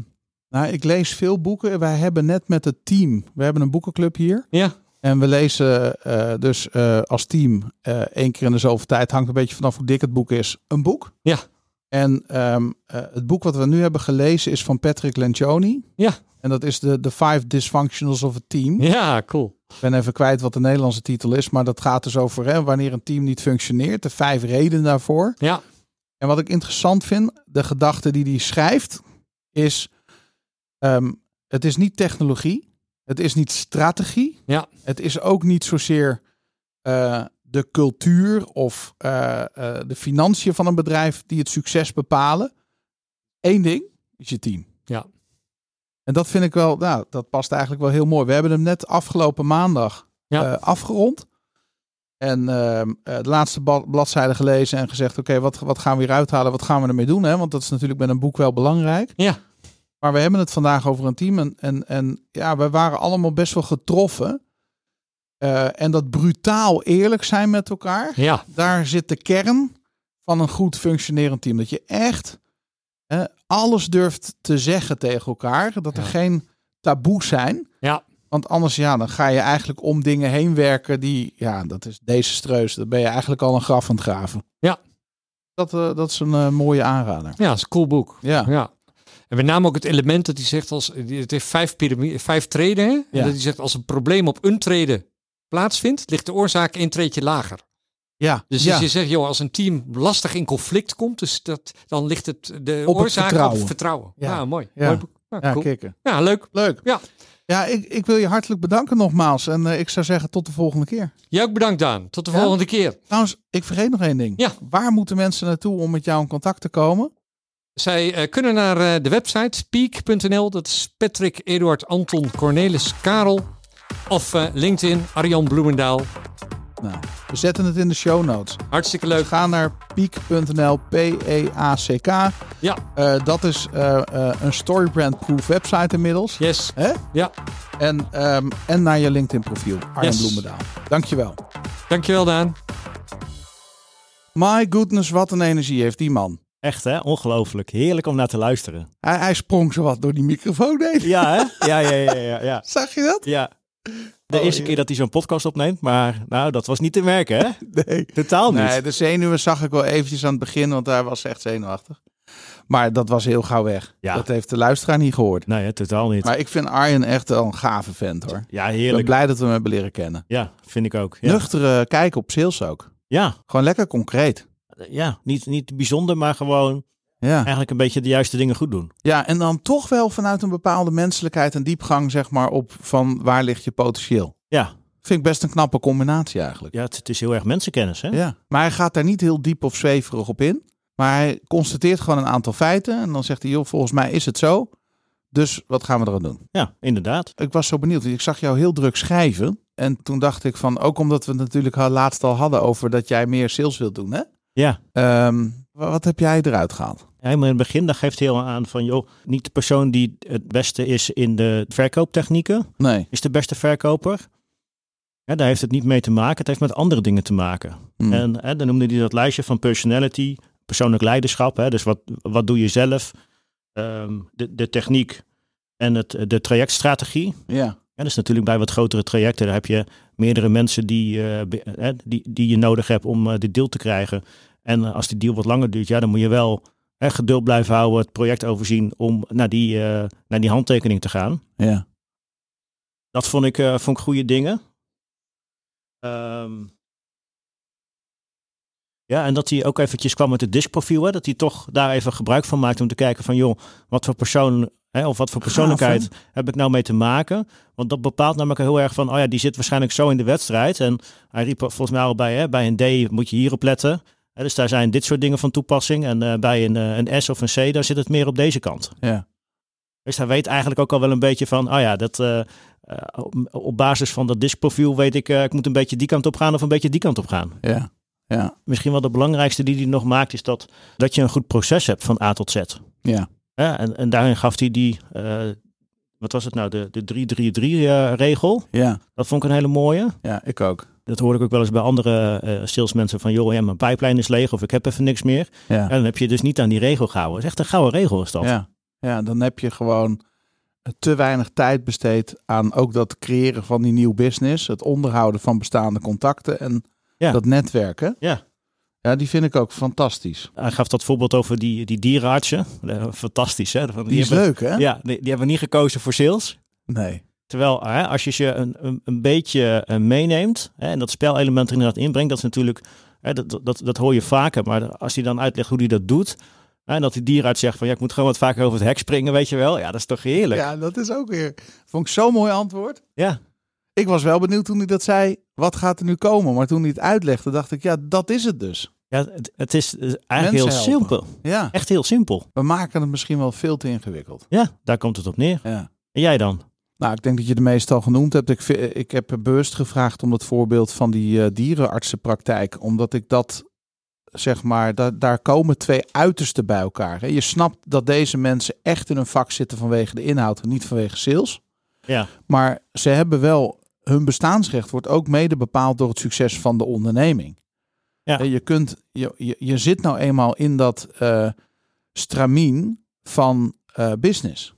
[SPEAKER 1] nou, ik lees veel boeken. Wij hebben net met het team, we hebben een boekenclub hier.
[SPEAKER 3] Ja.
[SPEAKER 1] En we lezen eh, dus eh, als team eh, één keer in de zoveel tijd, hangt een beetje vanaf hoe dik het boek is, een boek.
[SPEAKER 3] Ja.
[SPEAKER 1] En ehm, eh, het boek wat we nu hebben gelezen is van Patrick Lencioni.
[SPEAKER 3] Ja.
[SPEAKER 1] En dat is de, de Five Dysfunctionals of a Team.
[SPEAKER 3] Ja, cool.
[SPEAKER 1] Ik ben even kwijt wat de Nederlandse titel is, maar dat gaat dus over hè, wanneer een team niet functioneert. De vijf redenen daarvoor.
[SPEAKER 3] Ja,
[SPEAKER 1] En wat ik interessant vind, de gedachte die hij schrijft, is: ehm, het is niet technologie, het is niet strategie,
[SPEAKER 3] Ja.
[SPEAKER 1] het is ook niet zozeer eh, de cultuur of eh, eh, de financiën van een bedrijf die het succes bepalen. Eén ding is je team.
[SPEAKER 3] Ja.
[SPEAKER 1] En dat vind ik wel, nou, dat past eigenlijk wel heel mooi. We hebben hem net afgelopen maandag
[SPEAKER 3] Ja.
[SPEAKER 1] eh, afgerond. En ehm, eh, de laatste ba- bladzijde gelezen en gezegd: Oké, wat, wat gaan we hier uithalen? Wat gaan we ermee doen? Hè? Want dat is natuurlijk met een boek wel belangrijk.
[SPEAKER 3] Ja.
[SPEAKER 1] Maar we hebben het vandaag over een team. En, en, en ja, we waren allemaal best wel getroffen. Eh, en dat brutaal eerlijk zijn met elkaar
[SPEAKER 3] Ja,
[SPEAKER 1] daar zit de kern van een goed functionerend team. Dat je echt hè, alles durft te zeggen tegen elkaar. Dat er
[SPEAKER 3] Ja.
[SPEAKER 1] geen taboes zijn.
[SPEAKER 3] Ja.
[SPEAKER 1] Want anders ja, dan ga je eigenlijk om dingen heen werken die, ja, dat is desastreus. Dan ben je eigenlijk al een graf aan het graven.
[SPEAKER 3] Ja.
[SPEAKER 1] Dat, eh, dat is een eh, mooie aanrader.
[SPEAKER 3] ja, is een cool boek.
[SPEAKER 1] Ja.
[SPEAKER 3] Ja. En met name ook het element dat hij zegt als die- het heeft vijf, piramide, vijf treden. Hè? En
[SPEAKER 1] Ja.
[SPEAKER 3] dat hij zegt als een probleem op een treden plaatsvindt, ligt de oorzaak één treedje lager.
[SPEAKER 1] Ja.
[SPEAKER 3] Dus
[SPEAKER 1] ja.
[SPEAKER 3] als je zegt, joh, als een team lastig in conflict komt, dus dat, dan ligt het de
[SPEAKER 1] Op het
[SPEAKER 3] oorzaak op
[SPEAKER 1] vertrouwen.
[SPEAKER 3] het vertrouwen.
[SPEAKER 1] Ja.
[SPEAKER 3] Ja, mooi.
[SPEAKER 1] Ja.
[SPEAKER 3] Mooi boek. Ja,
[SPEAKER 1] ja,
[SPEAKER 3] cool.
[SPEAKER 1] kikken.
[SPEAKER 3] ja, leuk.
[SPEAKER 1] Leuk.
[SPEAKER 3] Ja.
[SPEAKER 1] Ja, ik, ik wil je hartelijk bedanken nogmaals. En eh, ik zou zeggen tot de volgende keer.
[SPEAKER 3] Jij ook bedankt, Daan. Tot de
[SPEAKER 1] Ja.
[SPEAKER 3] volgende keer.
[SPEAKER 1] Trouwens, ik vergeet nog één ding.
[SPEAKER 3] Ja.
[SPEAKER 1] Waar moeten mensen naartoe om met jou in contact te komen?
[SPEAKER 3] Zij eh, kunnen naar eh, de website peak.nl. Dat is Patrick, Eduard, Anton, Cornelis, Karel. Of eh, LinkedIn, Arjan Bloemendaal.
[SPEAKER 1] Nou, we zetten het in de show notes.
[SPEAKER 3] Hartstikke leuk.
[SPEAKER 1] Ga naar peak.nl, E P-E-A-C-K.
[SPEAKER 3] Ja,
[SPEAKER 1] Eh, dat is eh, eh, een storybrand-proof website inmiddels.
[SPEAKER 3] yes.
[SPEAKER 1] Hè?
[SPEAKER 3] Ja,
[SPEAKER 1] En, ehm, en naar je LinkedIn-profiel, Arjen
[SPEAKER 3] Yes.
[SPEAKER 1] Bloemendaal. Dankjewel.
[SPEAKER 3] dankjewel Daan.
[SPEAKER 1] My goodness, wat een energie heeft die man.
[SPEAKER 2] Echt hè, ongelooflijk. Heerlijk om naar te luisteren.
[SPEAKER 1] Hij, hij sprong zo wat door die microfoon heen.
[SPEAKER 2] Ja hè? Ja, ja, ja, ja. ja.
[SPEAKER 1] Zag je dat?
[SPEAKER 2] ja. De
[SPEAKER 1] Oh,
[SPEAKER 2] eerste
[SPEAKER 1] ja.
[SPEAKER 2] keer dat hij zo'n podcast opneemt, maar nou, dat was niet te merken hè?
[SPEAKER 1] Nee.
[SPEAKER 2] Totaal niet.
[SPEAKER 1] Nee, de zenuwen zag ik wel eventjes aan het begin, want daar was ze echt zenuwachtig. Maar dat was heel gauw weg.
[SPEAKER 2] Ja.
[SPEAKER 1] Dat heeft de luisteraar niet gehoord.
[SPEAKER 2] Nee, hè, totaal niet.
[SPEAKER 1] Maar ik vind Arjen echt wel een gave vent hoor.
[SPEAKER 2] Ja,
[SPEAKER 1] Ik ben
[SPEAKER 2] heerlijk.
[SPEAKER 1] blij dat we hem hebben leren kennen.
[SPEAKER 2] Ja, vind ik ook. Ja,
[SPEAKER 1] Nuchtere kijk op sales ook.
[SPEAKER 2] ja.
[SPEAKER 1] Gewoon lekker concreet.
[SPEAKER 2] ja. Niet, niet bijzonder, maar gewoon
[SPEAKER 1] Ja.
[SPEAKER 2] eigenlijk een beetje de juiste dingen goed doen.
[SPEAKER 1] ja, en dan toch wel vanuit een bepaalde menselijkheid en diepgang, zeg maar, op van waar ligt je potentieel.
[SPEAKER 2] Ja,
[SPEAKER 1] Vind ik best een knappe combinatie eigenlijk.
[SPEAKER 2] ja het, het is heel erg mensenkennis hè?
[SPEAKER 1] Ja. Maar hij gaat daar niet heel diep of zweverig op in. Maar hij constateert gewoon een aantal feiten. En dan zegt hij, joh, volgens mij is het zo. Dus wat gaan we eraan doen?
[SPEAKER 2] Ja, inderdaad.
[SPEAKER 1] Ik was zo benieuwd. want Ik zag jou heel druk schrijven. En toen dacht ik van, ook omdat we het natuurlijk al laatst al hadden over dat jij meer sales wilt doen, hè?
[SPEAKER 2] Ja.
[SPEAKER 1] Ehm, wa- wat heb jij eruit gehaald?
[SPEAKER 2] Helemaal in het begin, daar geeft hij al aan van, joh, niet de persoon die het beste is in de verkooptechnieken,
[SPEAKER 1] Nee.
[SPEAKER 2] is de beste verkoper. Ja, daar heeft het niet mee te maken, het heeft met andere dingen te maken.
[SPEAKER 1] Hm.
[SPEAKER 2] En hè, dan noemde hij dat lijstje van personality, persoonlijk leiderschap, hè, dus wat, wat doe je zelf, ehm, de, de techniek en het, de trajectstrategie.
[SPEAKER 1] ja.
[SPEAKER 2] Ja, dus natuurlijk bij wat grotere trajecten, daar heb je meerdere mensen die, eh, be- eh, die, die je nodig hebt om eh, dit deal te krijgen. En eh, als die deal wat langer duurt, ja, dan moet je wel eh, geduld blijven houden, het project overzien om naar die, eh, naar die handtekening te gaan.
[SPEAKER 1] Ja.
[SPEAKER 2] Dat vond ik, eh, vond ik goede dingen. Ehm, ja, en dat hij ook eventjes kwam met het diskprofiel, hè, dat hij toch daar even gebruik van maakt om te kijken van joh, wat voor persoon hè, of wat voor persoonlijkheid heb ik nou mee te maken? Want dat bepaalt namelijk heel erg van, oh ja, die zit waarschijnlijk zo in de wedstrijd. En hij riep er volgens mij al bij, hè, bij een D moet je hierop letten. Hè, dus daar zijn dit soort dingen van toepassing. En eh, bij een, eh, een S of een C, daar zit het meer op deze kant.
[SPEAKER 1] Ja.
[SPEAKER 2] Dus hij weet eigenlijk ook al wel een beetje van, oh ja, dat, eh, eh, op- op basis van dat diskprofiel weet ik, eh, ik moet een beetje die kant op gaan of een beetje die kant op gaan.
[SPEAKER 1] Ja.
[SPEAKER 2] Misschien wel de belangrijkste die hij nog maakt is dat, dat je een goed proces hebt van A tot Z.
[SPEAKER 1] Ja.
[SPEAKER 2] Ja, en, en daarin gaf hij die, eh, wat was het nou, de, de 3-3-3-regel.
[SPEAKER 1] Ja.
[SPEAKER 2] eh, dat vond ik een hele mooie.
[SPEAKER 1] Ja, ik ook.
[SPEAKER 2] Dat hoor ik ook wel eens bij andere eh, salesmensen van, joh, ja, mijn pijplijn is leeg of ik heb even niks meer.
[SPEAKER 1] Ja.
[SPEAKER 2] En dan heb je dus niet aan die regel gehouden. Dat is echt een gouden regel is dat.
[SPEAKER 1] Ja. ja, dan heb je gewoon te weinig tijd besteed aan ook dat creëren van die nieuw business, het onderhouden van bestaande contacten en
[SPEAKER 2] Ja.
[SPEAKER 1] dat netwerken.
[SPEAKER 2] Ja.
[SPEAKER 1] Ja, die vind ik ook fantastisch.
[SPEAKER 2] Hij gaf dat voorbeeld over die, die dierenartsen. Eh, Fantastisch, hè? Van,
[SPEAKER 1] Die is
[SPEAKER 2] hebben,
[SPEAKER 1] leuk, hè?
[SPEAKER 2] Ja, die, die hebben niet gekozen voor sales.
[SPEAKER 1] Nee.
[SPEAKER 2] Terwijl hè, als je ze een, een, een beetje eh, meeneemt hè, en dat spelelement er inderdaad inbrengt, dat is natuurlijk, hè, dat, dat, dat hoor je vaker. Maar als hij dan uitlegt hoe hij dat doet, hè, en dat die dierenarts zegt van ja, ik moet gewoon wat vaker over het hek springen, weet je wel. Ja, dat is toch heerlijk.
[SPEAKER 1] Ja, dat is ook weer. Vond ik zo'n mooi antwoord.
[SPEAKER 2] ja.
[SPEAKER 1] Ik ik was wel benieuwd toen hij dat zei, wat gaat er nu komen? Maar toen hij het uitlegde, dacht ik, ja, dat is het dus.
[SPEAKER 2] Ja, het, het is eh, eigenlijk heel
[SPEAKER 1] Mensen helpen.
[SPEAKER 2] simpel.
[SPEAKER 1] Ja,
[SPEAKER 2] Echt heel simpel.
[SPEAKER 1] we maken het misschien wel veel te ingewikkeld.
[SPEAKER 2] Ja, daar komt het op neer.
[SPEAKER 1] Ja.
[SPEAKER 2] En jij dan?
[SPEAKER 1] Nou, ik denk dat je de meeste al genoemd hebt. Ik, vi- ik heb bewust gevraagd om dat voorbeeld van die eh, dierenartsenpraktijk. Omdat ik dat, zeg maar, da- daar komen twee uitersten bij elkaar. hè. Je snapt dat deze mensen echt in een vak zitten vanwege de inhoud en niet vanwege sales.
[SPEAKER 2] Ja.
[SPEAKER 1] Maar ze hebben wel, hun bestaansrecht wordt ook mede bepaald door het succes van de onderneming.
[SPEAKER 2] Ja.
[SPEAKER 1] Hè, Je, kunt, je, je, je zit nou eenmaal in dat eh, stramien van eh, business.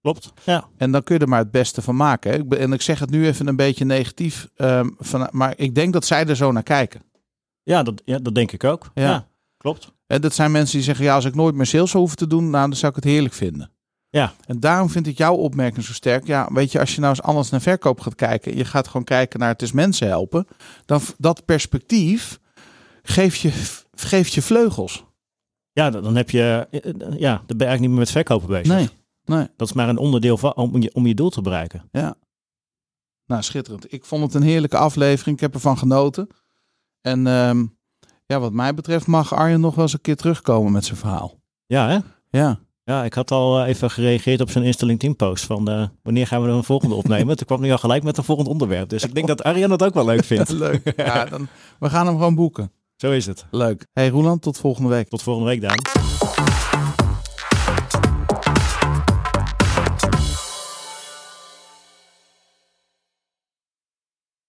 [SPEAKER 2] Klopt. Ja.
[SPEAKER 1] En dan kun je er maar het beste van maken. Hè? Ik ben- En ik zeg het nu even een beetje negatief, ehm, van, maar ik denk dat zij er zo naar kijken.
[SPEAKER 2] Ja, dat, ja, dat denk ik ook.
[SPEAKER 1] Ja.
[SPEAKER 2] Ja, klopt.
[SPEAKER 1] En dat zijn mensen die zeggen, ja, als ik nooit meer sales zou hoeven te doen, nou, dan zou ik het heerlijk vinden.
[SPEAKER 2] Ja.
[SPEAKER 1] En daarom vind ik jouw opmerking zo sterk. Ja, weet je, als je nou eens anders naar verkoop gaat kijken, je gaat gewoon kijken naar het is mensen helpen, dan v- dat perspectief geeft je, geeft je vleugels.
[SPEAKER 2] Ja, dan dan heb je, eh, eh, ja, dan ben je eigenlijk niet meer met verkopen bezig.
[SPEAKER 1] Nee.
[SPEAKER 2] Dat is maar een onderdeel van, om, je, om je doel te bereiken.
[SPEAKER 1] Nou, schitterend. Ik vond het een heerlijke aflevering. Ik heb ervan genoten. En ehm, ja, wat mij betreft mag Arjen nog wel eens een keer terugkomen met zijn verhaal.
[SPEAKER 2] Ja, hè?
[SPEAKER 1] Ja,
[SPEAKER 2] Ja, ik had al eh, even gereageerd op zijn Insta LinkedIn post van eh, wanneer gaan we er een volgende opnemen. Toen kwam hij al gelijk met een volgend onderwerp. Dus ik denk dat Arjan dat ook wel leuk vindt.
[SPEAKER 1] leuk. Ja, dan, we gaan hem gewoon boeken.
[SPEAKER 2] Zo is het.
[SPEAKER 1] Leuk. Hey Roland, tot volgende week.
[SPEAKER 2] Tot volgende week, Daan.